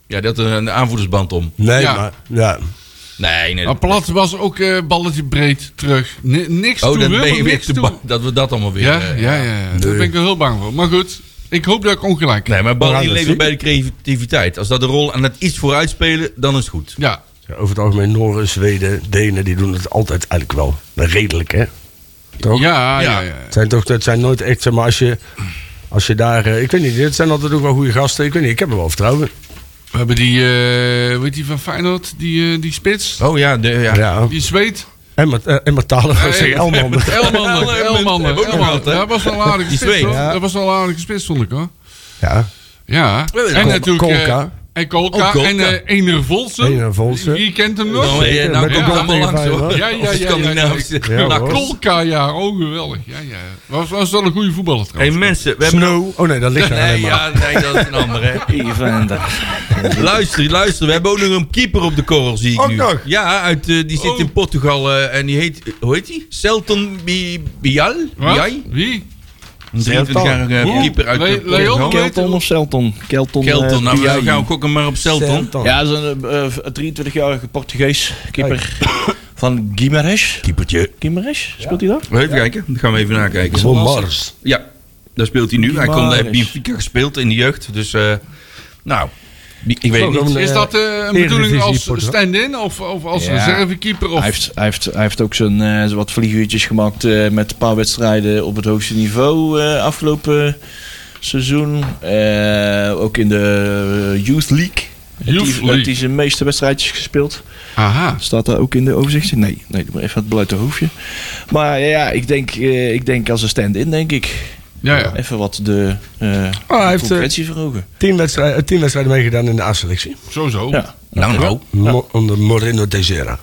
S2: Ja, dat er een aanvoerdersband om.
S3: Nee,
S4: Ja.
S3: maar... Ja.
S2: Nee, nee.
S4: Maar Plat was ook eh, balletje breed terug. Ni- niks
S2: oh,
S4: toe,
S2: dan ben
S4: helemaal
S2: je weer
S4: niks
S2: te
S4: toe.
S2: bang dat we dat allemaal weer...
S4: Ja,
S2: eh,
S4: ja, ja. ja. Daar ben ik wel heel bang voor. Maar goed, ik hoop dat ik ongelijk heb.
S2: Nee, maar bal die
S3: Vooruit,
S2: levert bij de
S3: zie.
S2: creativiteit. Als dat de rol aan het iets vooruit spelen, dan is het goed.
S4: Ja.
S3: Ja, Over het algemeen Noren, Zweden, Denen, die doen het altijd eigenlijk wel. Maar redelijk, hè? Toch?
S4: Ja,
S2: Ja.
S4: ja, ja.
S3: Het zijn toch, het zijn nooit echt, zeg maar, als je, als je daar... eh, Ik weet niet, het zijn altijd ook wel goede gasten. Ik weet niet, ik heb er wel vertrouwen.
S4: We hebben die, eh weet die van Feyenoord, die, eh, die spits,
S2: Oh ja, de, ja.
S3: Ja.
S4: die zweet.
S3: En met, eh, en met talen,
S4: Eh,
S3: zeg Elman.
S4: Elman, Elman,
S2: Hebben we ook nog
S4: Elman.
S2: gehad, hè?
S4: Dat was wel een aardige
S2: Die
S4: spits,
S2: zweet.
S4: hoor.
S3: Ja.
S4: Dat was wel een aardige spits, vond ik, hoor.
S3: Ja.
S4: Ja.
S2: hebben
S4: En
S2: nog
S4: natuurlijk... eh,
S3: Kolka.
S4: En Kolka.
S2: Oh, Kolka.
S4: En eh Ener Volsen.
S3: Ener Volsen.
S4: Wie kent hem
S2: Nou,
S4: nog?
S2: eh,
S3: Zeker,
S2: nou
S3: met
S2: komt
S3: de
S2: het allemaal
S3: blad
S2: langs,
S3: tegen
S2: hoor.
S3: vijf,
S4: Ja, ja,
S2: Als
S4: ja,
S2: Scandinavische
S3: ja, ja.
S2: nakkels.
S4: Kolka, ja. Oh, geweldig. Ja, ja. Was, was wel een goede voetballer,
S2: Hey,
S4: trouwens.
S2: mensen, we hebben...
S3: Snow. Oh nee, dat ligt er
S2: Nee,
S3: helemaal.
S2: ja, nee, dat is een ander, hè. Luister, luister. We hebben ook nog een keeper op de korrel, zie ik
S3: Ook
S2: nu.
S3: nog?
S2: Ja, uit, eh, die zit in Portugal eh, en die heet... Hoe heet die? Celton Bi- Bial?
S4: Wat?
S2: Bial?
S4: Wie?
S2: Een 23-jarige
S4: Hoe?
S2: keeper uit eh,
S4: Le-
S2: Portugal.
S4: Leon?
S5: Kelton of Celton? Kelton. eh,
S2: Kelton. Nou, we
S5: Biayi.
S2: gaan gokken maar op Celton.
S3: Celton.
S5: Ja, dat is een eh, eh, 23-jarige Portugees keeper van Guimarães.
S2: Keepertje.
S5: Guimarães, speelt hij daar?
S2: Even kijken. Dan gaan we even nakijken.
S3: Voor Mars.
S2: Ja, daar speelt hij nu. Hij kon bij
S5: Guimarães.
S2: Benfica gespeeld in de jeugd. Dus, eh, nou, ik ik weet het niet.
S3: dan,
S4: Is
S3: eh,
S4: dat eh, een
S3: Eredivisie
S4: bedoeling als
S3: Portugal.
S4: stand-in of, of als
S5: Ja.
S4: reservekeeper? Of...
S5: Hij heeft, hij, heeft, hij heeft ook zijn, eh, wat vlieguurtjes gemaakt eh, met een paar wedstrijden op het hoogste niveau eh, afgelopen seizoen. Eh, ook in de eh, Youth League.
S4: Youth
S5: heeft hij-
S4: League.
S5: heeft hij zijn meeste wedstrijdjes gespeeld.
S4: Aha.
S5: Staat daar ook in de overzichtje? Nee, nee doe maar even het blote hoofdje. Maar ja, ja, ik denk, eh, ik denk als een stand-in, denk ik.
S4: Ja, ja.
S5: Even wat de eh
S3: Ah, hij heeft, eh,
S5: concurrentie verhogen.
S3: Tien wedstrijden, eh, tien wedstrijden meegedaan in de A-selectie.
S4: Sowieso.
S5: Ja.
S2: Nou, nou.
S3: Mo- Onder Moreno de Zera.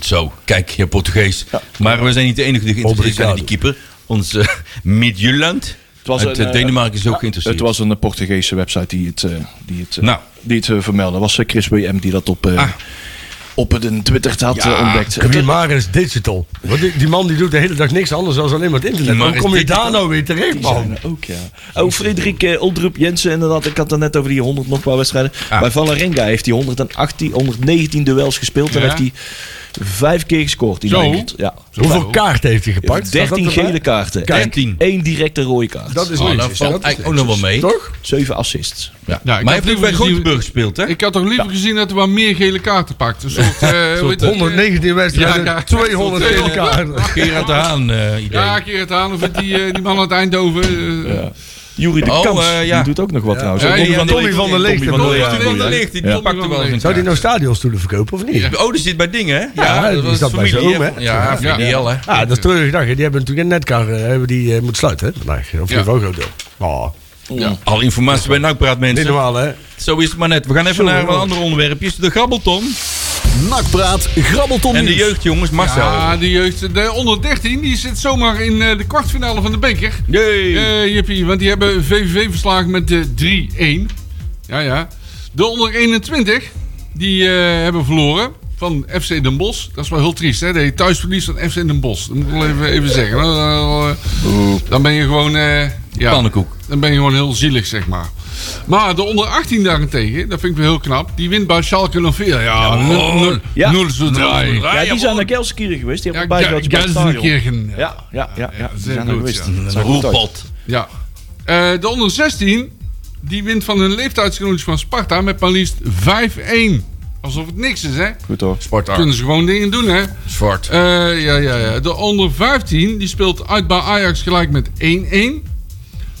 S2: Zo, kijk, je Portugees. Maar we zijn niet de enige die geïnteresseerd zijn in die keeper. Ons eh Midtjylland.
S5: Het was
S2: uit
S5: een,
S2: eh,
S5: eh,
S2: Denemarken is ook
S5: Het
S2: geïnteresseerd.
S5: was een eh, Portugese website die het, eh, die het, eh,
S2: Nou.
S5: die het eh, vermeldde. Dat was eh, Chris WM die dat op, eh,
S2: Ah.
S5: op de Twitter had
S2: Ja,
S5: eh, ontdekt.
S3: Guimaris Digital. Want die, die man die doet de hele dag niks anders dan alleen maar het internet. Hoe
S2: Guimarães
S3: kom je
S2: Digital.
S3: daar nou weer terecht,
S5: Die zijn
S3: man?
S5: er ook, ja. Oh, Frederik eh, Oldrup Jensen, inderdaad. Ik had het net over die 100 nog paar wedstrijden.
S2: Ah.
S5: Bij Valerenga heeft hij 118, 119 duels gespeeld. En
S4: Ja.
S5: heeft hij vijf keer gescoord. Die
S4: Zo.
S5: Nederland. Ja.
S3: Hoeveel kaart heeft hij gepakt? Staat dat
S5: 13
S3: erbij?
S5: gele kaarten.
S2: Kijk.
S5: En 1 directe rode kaart.
S3: Dat is
S2: Oh,
S3: netjes,
S2: dat valt
S3: hè? Dat is
S2: eigenlijk ook nog wel mee.
S3: netjes. Toch?
S5: 7 assists.
S2: Ja.
S4: Ja, ik
S2: maar hij
S4: had
S2: heeft ook
S4: liever
S2: bij
S4: gezien-
S2: Grotenburg gespeeld, hè?
S4: Ik had toch liever gezien dat er wat meer gele kaarten pakt. Een soort, eh, hoe heet dat?
S3: 119 wedstrijden,
S4: Ja, ja.
S3: 200 gele kaarten.
S2: Gerard de Haan eh, idee.
S4: Ja, Gerrit Haan of die, eh, die man uit Eindhoven. eh,
S5: Jury de
S2: Oh,
S5: Kans,
S2: eh, ja.
S5: die doet ook nog wat trouwens.
S4: Ja,
S5: Ook
S4: ja,
S5: Tommy
S4: ja,
S5: van der
S3: Tommy
S5: Leek.
S3: van der Leek,
S5: Tommy van der
S2: Tommy
S5: Leek.
S2: van der Leeg, die
S5: Ja.
S2: pakte wel eens een
S3: Zou die nou
S2: kaart.
S3: stadionstoelen verkopen of niet?
S2: Oh, die zit bij dingen, hè?
S3: Ja, die
S2: was
S3: zat bij
S2: familie,
S3: zijn oom, hè?
S2: Ja,
S4: Ja.
S2: VDL, hè?
S3: Ah, dat is treurig dag. hè. Die hebben natuurlijk een netkar eh, hebben die, eh, moeten sluiten hè, vandaag. Of in ieder geval een groot deel. Oh,
S5: Ja.
S2: Al informatie bij Nakpraat,
S3: niet
S2: mensen.
S3: normaal, hè?
S2: Zo is het maar net. We gaan even naar wat andere onderwerpjes. De grabbelton
S1: Nakpraat, grabbelton
S2: en de
S1: nieuws.
S2: jeugdjongens. Marcel.
S4: Ja, de ah, jeugd, de onder 13, die zit zomaar in eh, de kwartfinale van de beker.
S2: Jee.
S4: Eh, jippie, want die hebben VVV verslagen met de 3-1. Ja, ja. De onder 21, die eh, hebben verloren van FC Den Bosch. Dat is wel heel triest, hè? De thuisverlies van FC Den Bosch. Dat moet ik wel even, even zeggen. Dan, dan- eh, dan ben je gewoon... eh, ja,
S2: Pannenkoek.
S4: Dan ben je gewoon heel zielig, zeg maar. Maar de onder 18 daarentegen, dat vind ik wel heel knap. Die wint bij Schalke 04. Ja, 0
S5: Ja.
S4: 3
S5: Ja, die zijn naar Gelsenkirchen geweest. Die
S4: ja,
S5: hebben ja,
S4: Ge- Gelsenkirchen. Ja.
S5: Ja, ja, ja, ja.
S4: Ja,
S5: Die
S4: zeer
S5: zijn er
S4: goed,
S5: geweest.
S4: ja.
S2: Een roerpot.
S4: ja. Eh, de onder 16, die wint van een leeftijdsgenootje van Sparta met maar liefst 5-1. Alsof het niks is, hè?
S5: Goed hoor.
S4: Kunnen ze gewoon dingen doen, hè?
S2: Zwart.
S4: Eh, ja, ja, ja. De onder 15 die speelt uit bij Ajax gelijk met 1-1.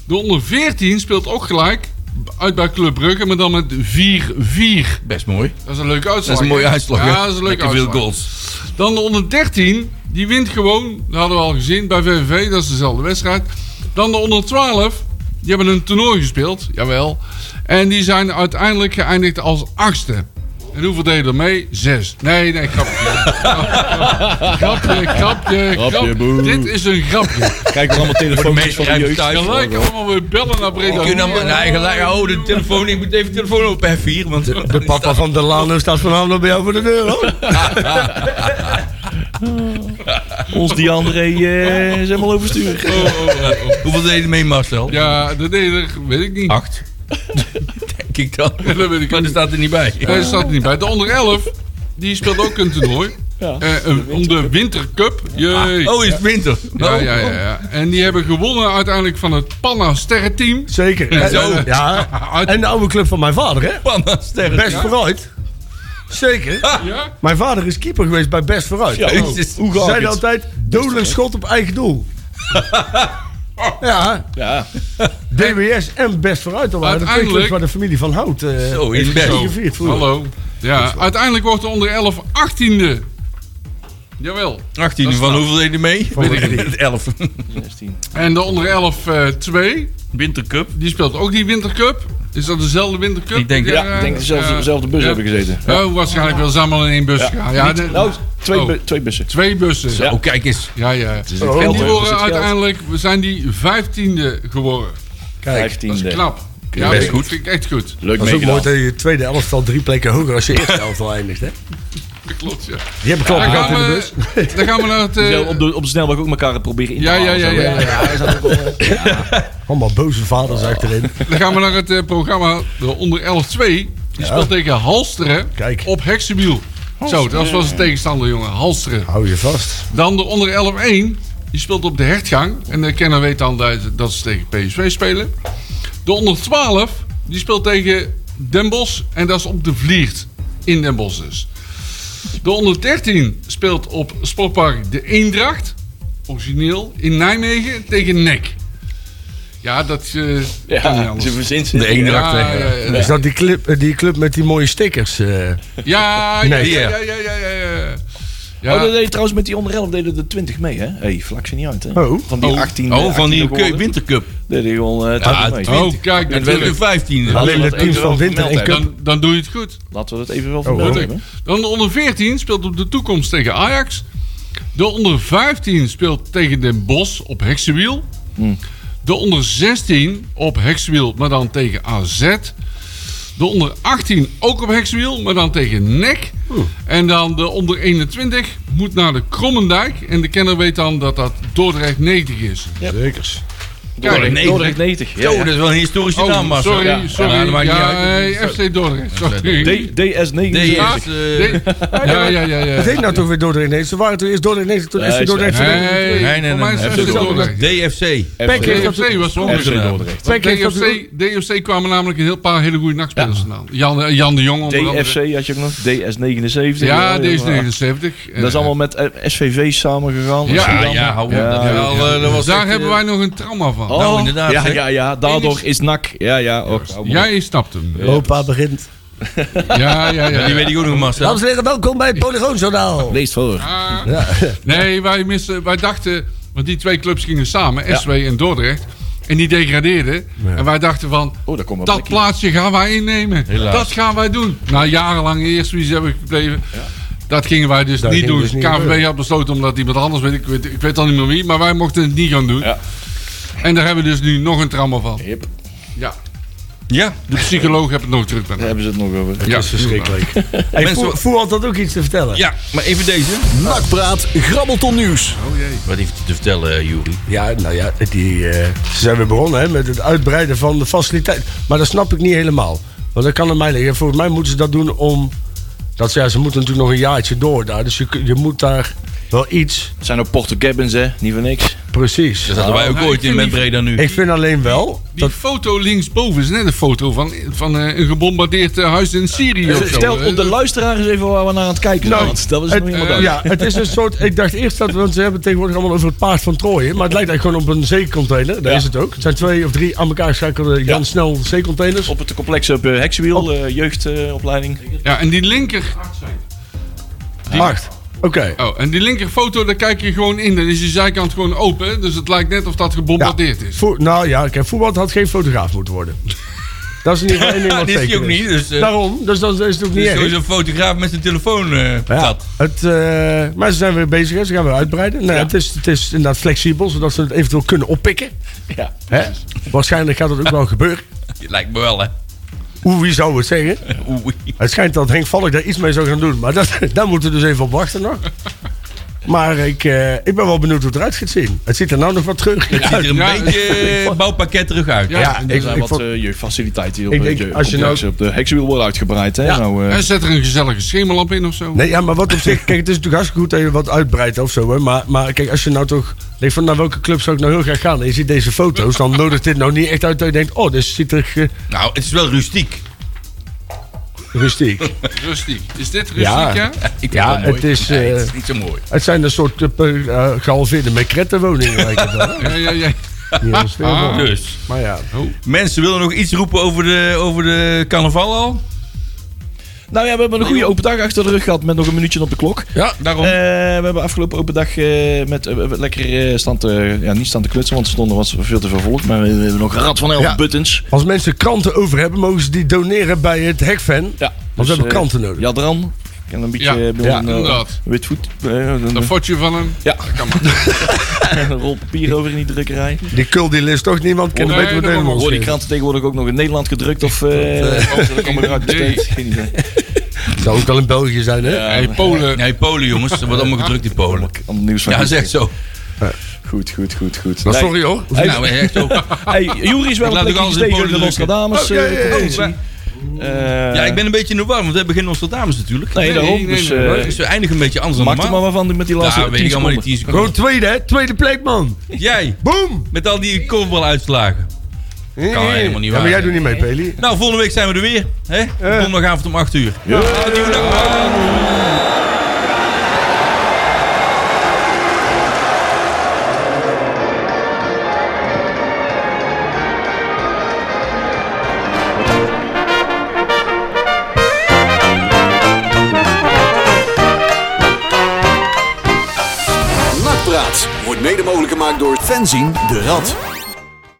S4: De onder 14 speelt ook gelijk uit bij Club Brugge, maar dan met 4-4.
S2: Best mooi.
S4: Dat is een leuke uitslag.
S2: Dat is een mooie
S4: hè?
S2: uitslag. hè?
S4: Ja, dat is een leuke
S2: Lekker
S4: uitslag.
S2: veel goals.
S4: Dan de onder 13, die wint gewoon. Dat hadden we al gezien bij VVV, dat is dezelfde wedstrijd. Dan de onder 12, die hebben een toernooi gespeeld, jawel. En die zijn uiteindelijk geëindigd als achtste. En hoeveel deden er mee? Zes. Nee, nee, grapje. grapje, grapje, grapje.
S5: boe.
S4: Dit is een grapje.
S5: Kijk maar allemaal telefoontjes van de
S2: meeschrijven
S5: jeugd.
S2: thuis.
S4: Gelijk allemaal weer bellen naar Breda.
S2: Ik kun nou hem, nee, gelijk, oh, de telefoon, ik moet even de telefoon open heffen hier. Want
S3: De papa van de Lano staat vanavond bij jou voor de deur, hoor.
S5: Ons die André eh, is helemaal overstuur.
S4: Oh, oh, oh, oh.
S2: Hoeveel deden mee, Marcel?
S4: Ja, dat deden er, weet ik niet.
S2: Acht. Denk ik dan.
S4: dat weet ik
S2: Maar
S4: ook
S2: er staat er niet bij.
S4: Nee, dat staat er niet bij. De onder 11, die speelt ook een toernooi.
S5: Ja.
S4: Eh, een- om de Wintercup. Jee.
S5: Ah.
S2: Oh, is het winter?
S4: Ja, ja, ja, ja. En die hebben gewonnen uiteindelijk van het Panna Sterrenteam.
S3: Zeker. En,
S2: Zo.
S3: Ja.
S4: Uit-
S3: En de oude club van mijn vader, hè?
S2: Panna, sterren.
S3: Best vooruit. Zeker.
S4: Ja?
S3: Mijn vader is keeper geweest bij Best vooruit.
S5: Ja.
S2: Jezus.
S5: Hoe
S3: Ze
S5: gaat
S3: zeiden
S5: het?
S3: altijd, dodelijk schot op eigen doel. ja,
S5: Ja,
S3: DWS en Best vooruit. Dat waren de twee
S4: Uiteindelijk-
S3: clubs waar de familie van houdt. eh,
S2: Zo, in Best.
S3: Zo gevierd vroeger.
S4: Hallo. Ja, uiteindelijk wordt de onder 11 18e. Jawel.
S2: 18,
S4: Dat
S2: van
S4: staat.
S2: hoeveel deden mee?
S4: Weet ik
S2: Met 11.
S5: 16.
S4: En de onder 11 eh 2,
S2: Wintercup.
S4: die speelt ook die Wintercup. Is dat dezelfde Wintercup?
S2: Ik denk-
S4: Die
S2: ja,
S4: er,
S2: ik
S5: Ik
S4: eh,
S5: denk dezelfde,
S4: ja.
S5: dezelfde bus
S4: Ja.
S5: hebben gezeten.
S4: Oh, waarschijnlijk wel ze allemaal in één bus gegaan. Ja, de-
S5: Nou, twee,
S4: Oh.
S5: bu- twee bussen.
S4: twee bussen.
S2: Zo, Oh, kijk eens.
S4: Ja, ja.
S5: geld,
S4: en die
S5: hè? Er zit
S4: worden
S5: geld.
S4: uiteindelijk, we zijn die vijftiende geworden. Dat is
S5: 15e.
S4: knap. Ja,
S2: Best
S4: vind ik-
S2: goed.
S4: Vind ik echt goed.
S5: Leuk
S3: Dat is ook mooi
S5: meegedaan.
S3: dat je tweede elftal drie plekken hoger als je eerste elftal eindigt, hè?
S4: Dat klopt, ja.
S3: Die hebben klap
S4: Dan
S3: gehad
S4: gaan,
S3: in de bus.
S4: we, dan gaan we naar het... eh,
S5: Zo Op de, op de snelweg ook elkaar proberen in te
S4: ja, ja,
S5: halen,
S4: ja,
S5: zo.
S4: ja, ja.
S3: Allemaal boze vaders achterin.
S4: Dan gaan we naar het eh, programma de onder 11-2. Die speelt tegen Halsteren
S3: Kijk.
S4: op Heksenwiel. Zo, dat was de tegenstander, jongen. Halsteren.
S3: Hou je vast.
S4: Dan de onder 11-1. Die speelt op de hertgang. En de kenner weet dan dat, dat ze tegen PSV spelen. De onder 12. Die speelt tegen Den Bosch. En dat is op de Vliert. In Den Bosch dus. De onder 13 speelt op Sportpark De Eendracht. Origineel. In Nijmegen tegen NEC. Ja, dat eh, kan niet
S5: Ja,
S4: anders.
S5: ze verzint ze.
S2: De Eendracht.
S4: Ja,
S2: hè.
S4: ja, ja, ja.
S3: Is dat die club, eh, die club met die mooie stickers? eh?
S4: Ja, ja,
S3: Nee.
S4: ja, ja, ja, ja, ja. Ja,
S5: Oh, dat deed trouwens met die onder 11 deden er 20 mee, hè? Hé, hey, vlak ze niet uit, hè?
S3: Oh.
S5: Van die 18
S2: Oh, van die
S5: geworden,
S2: Keu- Wintercup.
S5: Deden gewoon eh, 20 mee.
S2: twintig.
S4: Oh, kijk,
S2: En we
S4: natuurlijk.
S2: hebben 15.
S3: Alleen de
S5: dat
S3: teams
S5: even wel
S3: van Winter en
S5: gemeld
S3: Cup.
S4: Dan, dan doe je het goed.
S5: Laten we dat even
S4: Oh,
S5: wel vermelden
S3: hoor.
S5: hebben.
S4: Dan de onder 14 speelt op de toekomst tegen Ajax. De onder 15 speelt tegen Den Bosch op Heksenwiel. De onder 16 op Heksenwiel, maar dan tegen AZ. De onder 18 ook op Heksenwiel, maar dan tegen NEC. En dan de onder 21 moet naar de Krommendijk. En de kenner weet dan dat dat Dordrecht 90 is.
S3: Zekers.
S4: Kijk,
S2: Nee.
S5: Dordrecht 90. Ja,
S2: Zo,
S5: ja.
S2: dat is wel een historische naam,
S4: oh,
S2: Marcel.
S4: sorry, sorry.
S2: Ja, nou, dat maakt niet
S4: Ja,
S2: uit.
S4: eh, FC Dordrecht, sorry.
S5: D- DS9.
S2: Nee,
S4: Ja,
S2: is, eh,
S4: nee. ja, ja, ja. ja.
S3: Het heet nou toch weer Dordrecht Nederland. Ze waren toen eerst Dordrecht Nederland, toen
S5: Nee,
S3: FC Dordrecht.
S4: nee.
S3: Nederland.
S4: Nee,
S2: Nee, nee,
S4: voor mij
S2: nee.
S4: is het
S2: FC
S4: FC
S2: Dordrecht. DFC.
S5: FC.
S3: Pek heeft
S4: DFC was
S5: FC
S4: ongeveer.
S5: Dordrecht.
S3: Pek heeft dat-
S4: DFC, DFC kwamen namelijk een heel paar hele goede nachtspelers vandaan. Jan, eh, Jan de Jong onder andere.
S5: DFC had je ook nog. DS79.
S4: Ja,
S5: maar-
S4: DS79.
S5: Dat is allemaal met eh, SVV samengegaan.
S4: Ja,
S2: Ja,
S5: Amsterdam.
S2: ja, hou op.
S5: Ja,
S2: Dat is wel, eh, dat was
S4: Daar
S2: echt,
S4: hebben
S2: eh,
S4: wij nog een trauma van.
S5: Oh,
S2: Nou, inderdaad,
S5: Ja,
S2: hè.
S5: ja, ja. Daardoor is NAC. Ja, ja. Och, hou maar op.
S4: Jij snapt hem. Ja,
S3: Opa begint.
S4: ja, ja. ja,
S2: Ja, die weet ik ook nog, Marcel.
S3: Dames en heren, welkom bij het Polygoonjournaal.
S5: Leest voor. Oh,
S4: Ah. Nee, wij, missen, wij dachten, want die twee clubs gingen samen, SW en Dordrecht. En die degradeerden. En wij dachten van,
S5: Oh, daar komt wel
S4: dat
S5: plekje.
S4: plaatsje gaan wij innemen.
S2: Helaas.
S4: Dat gaan wij doen. Na jarenlang eerst wie ze hebben gebleven. Dat gingen wij dus niet
S3: ging
S4: doen.
S3: dus niet
S4: KVB
S3: gebeuren.
S4: had besloten omdat iemand anders, weet ik, weet, ik weet al niet meer wie, maar wij mochten het niet gaan doen.
S5: Ja.
S4: En daar hebben we dus nu nog een trauma van.
S5: Yep.
S4: Ja.
S2: Ja,
S4: De psycholoog heeft het nog druk met.
S5: Daar hebben ze het nog over.
S4: Ja.
S3: verschrikkelijk. Hey,
S2: Mensen-
S3: Voer- Voer had dat ook iets te vertellen.
S2: ja, maar even deze.
S1: Nakpraat, grabbelton nieuws.
S2: Wat heeft hij te vertellen, eh, Juri?
S3: Ja, nou ja, die, eh, ze zijn weer begonnen hè, met het uitbreiden van de faciliteit. Maar dat snap ik niet helemaal. Want dat kan aan mij liggen. Volgens mij moeten ze dat doen om... Dat ze, ja, ze moeten natuurlijk nog een jaartje door daar. Dus je, kun- je moet daar... wel iets.
S5: Het zijn ook Porto Cabins, hè? Niet voor niks.
S3: Precies.
S2: Daar zaten Dus wij ook
S4: nou,
S2: ooit
S4: ik
S2: in
S4: vind
S2: met
S4: die-
S2: Breda nu.
S3: Ik vind alleen wel.
S4: Die
S3: Dat,
S4: foto linksboven is net een foto van, van eh, een gebombardeerd eh, huis in Syrië. of zo, eh.
S5: Stel
S4: hè.
S5: op de luisteraar eens even waar we naar aan het kijken zijn.
S3: Nou,
S5: want dat is
S3: het,
S5: nog helemaal duidelijk.
S3: ja, het is een soort. Ik dacht eerst dat. Want ze hebben het tegenwoordig allemaal over het paard van Troje. Maar het lijkt eigenlijk gewoon op een zeecontainer. Daar
S5: Ja.
S3: is het ook. Het zijn twee of drie aan elkaar geschakelde Jan Snel zeecontainers.
S5: Op het complex op eh, Heksenwiel, eh, jeugdopleiding.
S4: Ja, en die linker...
S3: Acht. Oké.
S4: Oh, en die linkerfoto, daar kijk je gewoon in. Dan is je zijkant gewoon open. Dus het lijkt net of dat gebombardeerd is.
S3: Voe- nou ja, kijk, voetbal had geen fotograaf moeten worden. Dat is in ieder geval één ding
S2: Ja,
S3: wat
S2: die is
S3: zeker
S2: die ook niet. Dus, eh
S3: Daarom, dus dan is het ook niet
S2: dus
S3: erg.
S2: zo'n fotograaf met zijn telefoon eh
S3: Ja,
S2: dat.
S3: het, eh, maar ze zijn weer bezig, hè. ze gaan weer uitbreiden. Nou, het, is, het is inderdaad flexibel, zodat ze het eventueel kunnen oppikken.
S5: Ja.
S3: Hè? Waarschijnlijk gaat dat ook wel gebeuren.
S2: Lijkt me wel, hè.
S3: Hoe, wie zou het zeggen?
S2: Oei.
S3: Het schijnt dat Henk Valk daar iets mee zou gaan doen. Maar dat, daar moeten we dus even op wachten nog. Maar ik, eh, ik ben wel benieuwd hoe het eruit gaat zien. Het ziet er nou nog wat
S2: Het
S3: treurig
S2: ziet
S3: uit.
S2: er een
S4: Ja,
S2: beetje eh, bouwpakket terug uit.
S4: Ja,
S3: Ja, ik,
S5: Er zijn
S3: ik
S5: wat
S3: vond-
S5: eh, jeugdfaciliteiten die op,
S3: Ik
S5: eh,
S3: denk,
S5: je-
S3: als je
S5: complex
S3: nou-
S5: op de Heksenwiel worden uitgebreid. Hè? Nou, eh,
S4: En zet er een gezellige schemerlamp in of zo.
S3: Nee, ja, maar wat op zich. Kijk, het is natuurlijk hartstikke goed dat je wat uitbreidt of zo. Hè, maar, maar kijk, als je nou toch. Denkt van naar welke club zou ik nou heel graag gaan? En je ziet deze foto's, dan nodigt dit nou niet echt uit dat je denkt: oh, dit ziet er eh,
S2: Nou, het is wel rustiek.
S3: rustiek.
S4: Rustig. Is dit rustig,
S3: Ja.
S4: ja?
S2: Ik vind
S3: Ja,
S2: dat mooi.
S3: het is,
S2: Nee, het
S3: eh,
S2: is niet zo mooi.
S3: Het zijn een soort eh, eh, gehalveerde mekrettenwoningen, lijkt het wel. hè?
S4: Ja, ja, ja.
S3: Niet heel stil,
S4: Ah.
S3: hoor.
S2: Dus,
S3: Maar ja.
S2: mensen willen nog iets roepen over de, over de carnaval al?
S5: nou ja, we hebben een goede open dag achter de rug gehad met nog een minuutje op de klok.
S2: Ja, daarom.
S5: Eh, we hebben afgelopen open dag eh, met eh, we- lekker eh, staan te, ja, niet staan te klutsen, want er stonden wat veel te veel volk. Maar we hebben nog een rad van elf
S3: Ja.
S5: buttons.
S3: Als mensen kranten over hebben, mogen ze die doneren bij het Hekfan.
S5: Ja,
S3: we hebben
S5: eh,
S3: kranten nodig.
S5: Jadran. Ik ken een beetje
S4: Ja,
S5: eh, bij
S3: ja,
S5: ons een, eh,
S4: inderdaad.
S5: wit voet. eh, een-
S4: Een fotje van hem.
S5: Ja.
S4: Dat kan maar.
S5: een rol papier over in die drukkerij.
S3: Die kul die leest toch niemand, kennen
S4: Nee,
S3: beter wat
S4: dat
S3: helemaal
S4: mag
S5: Worden die kranten tegenwoordig ook nog in Nederland gedrukt of eh of ze dat allemaal eruit besteed? Geen idee.
S3: zou ook wel in België zijn, hè?
S4: Hey, Polen.
S2: Nee, Polen jongens. Dat wordt allemaal gedrukt in Polen.
S5: Ander nieuws van
S2: Ja,
S5: gisteren.
S2: zeg zo.
S5: Goed, goed, goed, goed.
S3: Nou,
S5: Nee.
S3: sorry hoor.
S5: Hey,
S2: Nou, echt zo.
S5: hey, Jury
S2: Ik
S5: is wel een
S2: laat ook alles
S5: plekje
S2: in
S5: gestegen in
S2: Polen
S5: de
S2: drukken.
S5: Nostradamus eh, competitie. Eh,
S2: Oh, Ja, ik ben een beetje in de war, want we hebben geen Nostradamus natuurlijk.
S5: Nee, daarom.
S4: nee, nee,
S5: dus,
S4: nee,
S5: eh,
S2: Dus we eindigen een beetje anders dan
S5: maak er maar
S2: normaal.
S5: wat van met die laatste
S2: Ja, weet
S5: 10
S2: ik allemaal niet.
S5: seconden.
S2: 10 seconden.
S3: Gewoon tweede, hè? Tweede plek, man.
S2: Jij,
S3: Boom!
S2: met al die korfbaluitslagen. Kan helemaal niet
S3: Ja, maar
S2: waar
S3: jij
S2: zijn.
S3: doet niet mee, Peli.
S2: Nou, volgende week zijn we er weer. Hè? Donderdagavond om 8 uur. Nou,
S1: Nakpraat wordt mede mogelijk gemaakt door fanzine de Rad.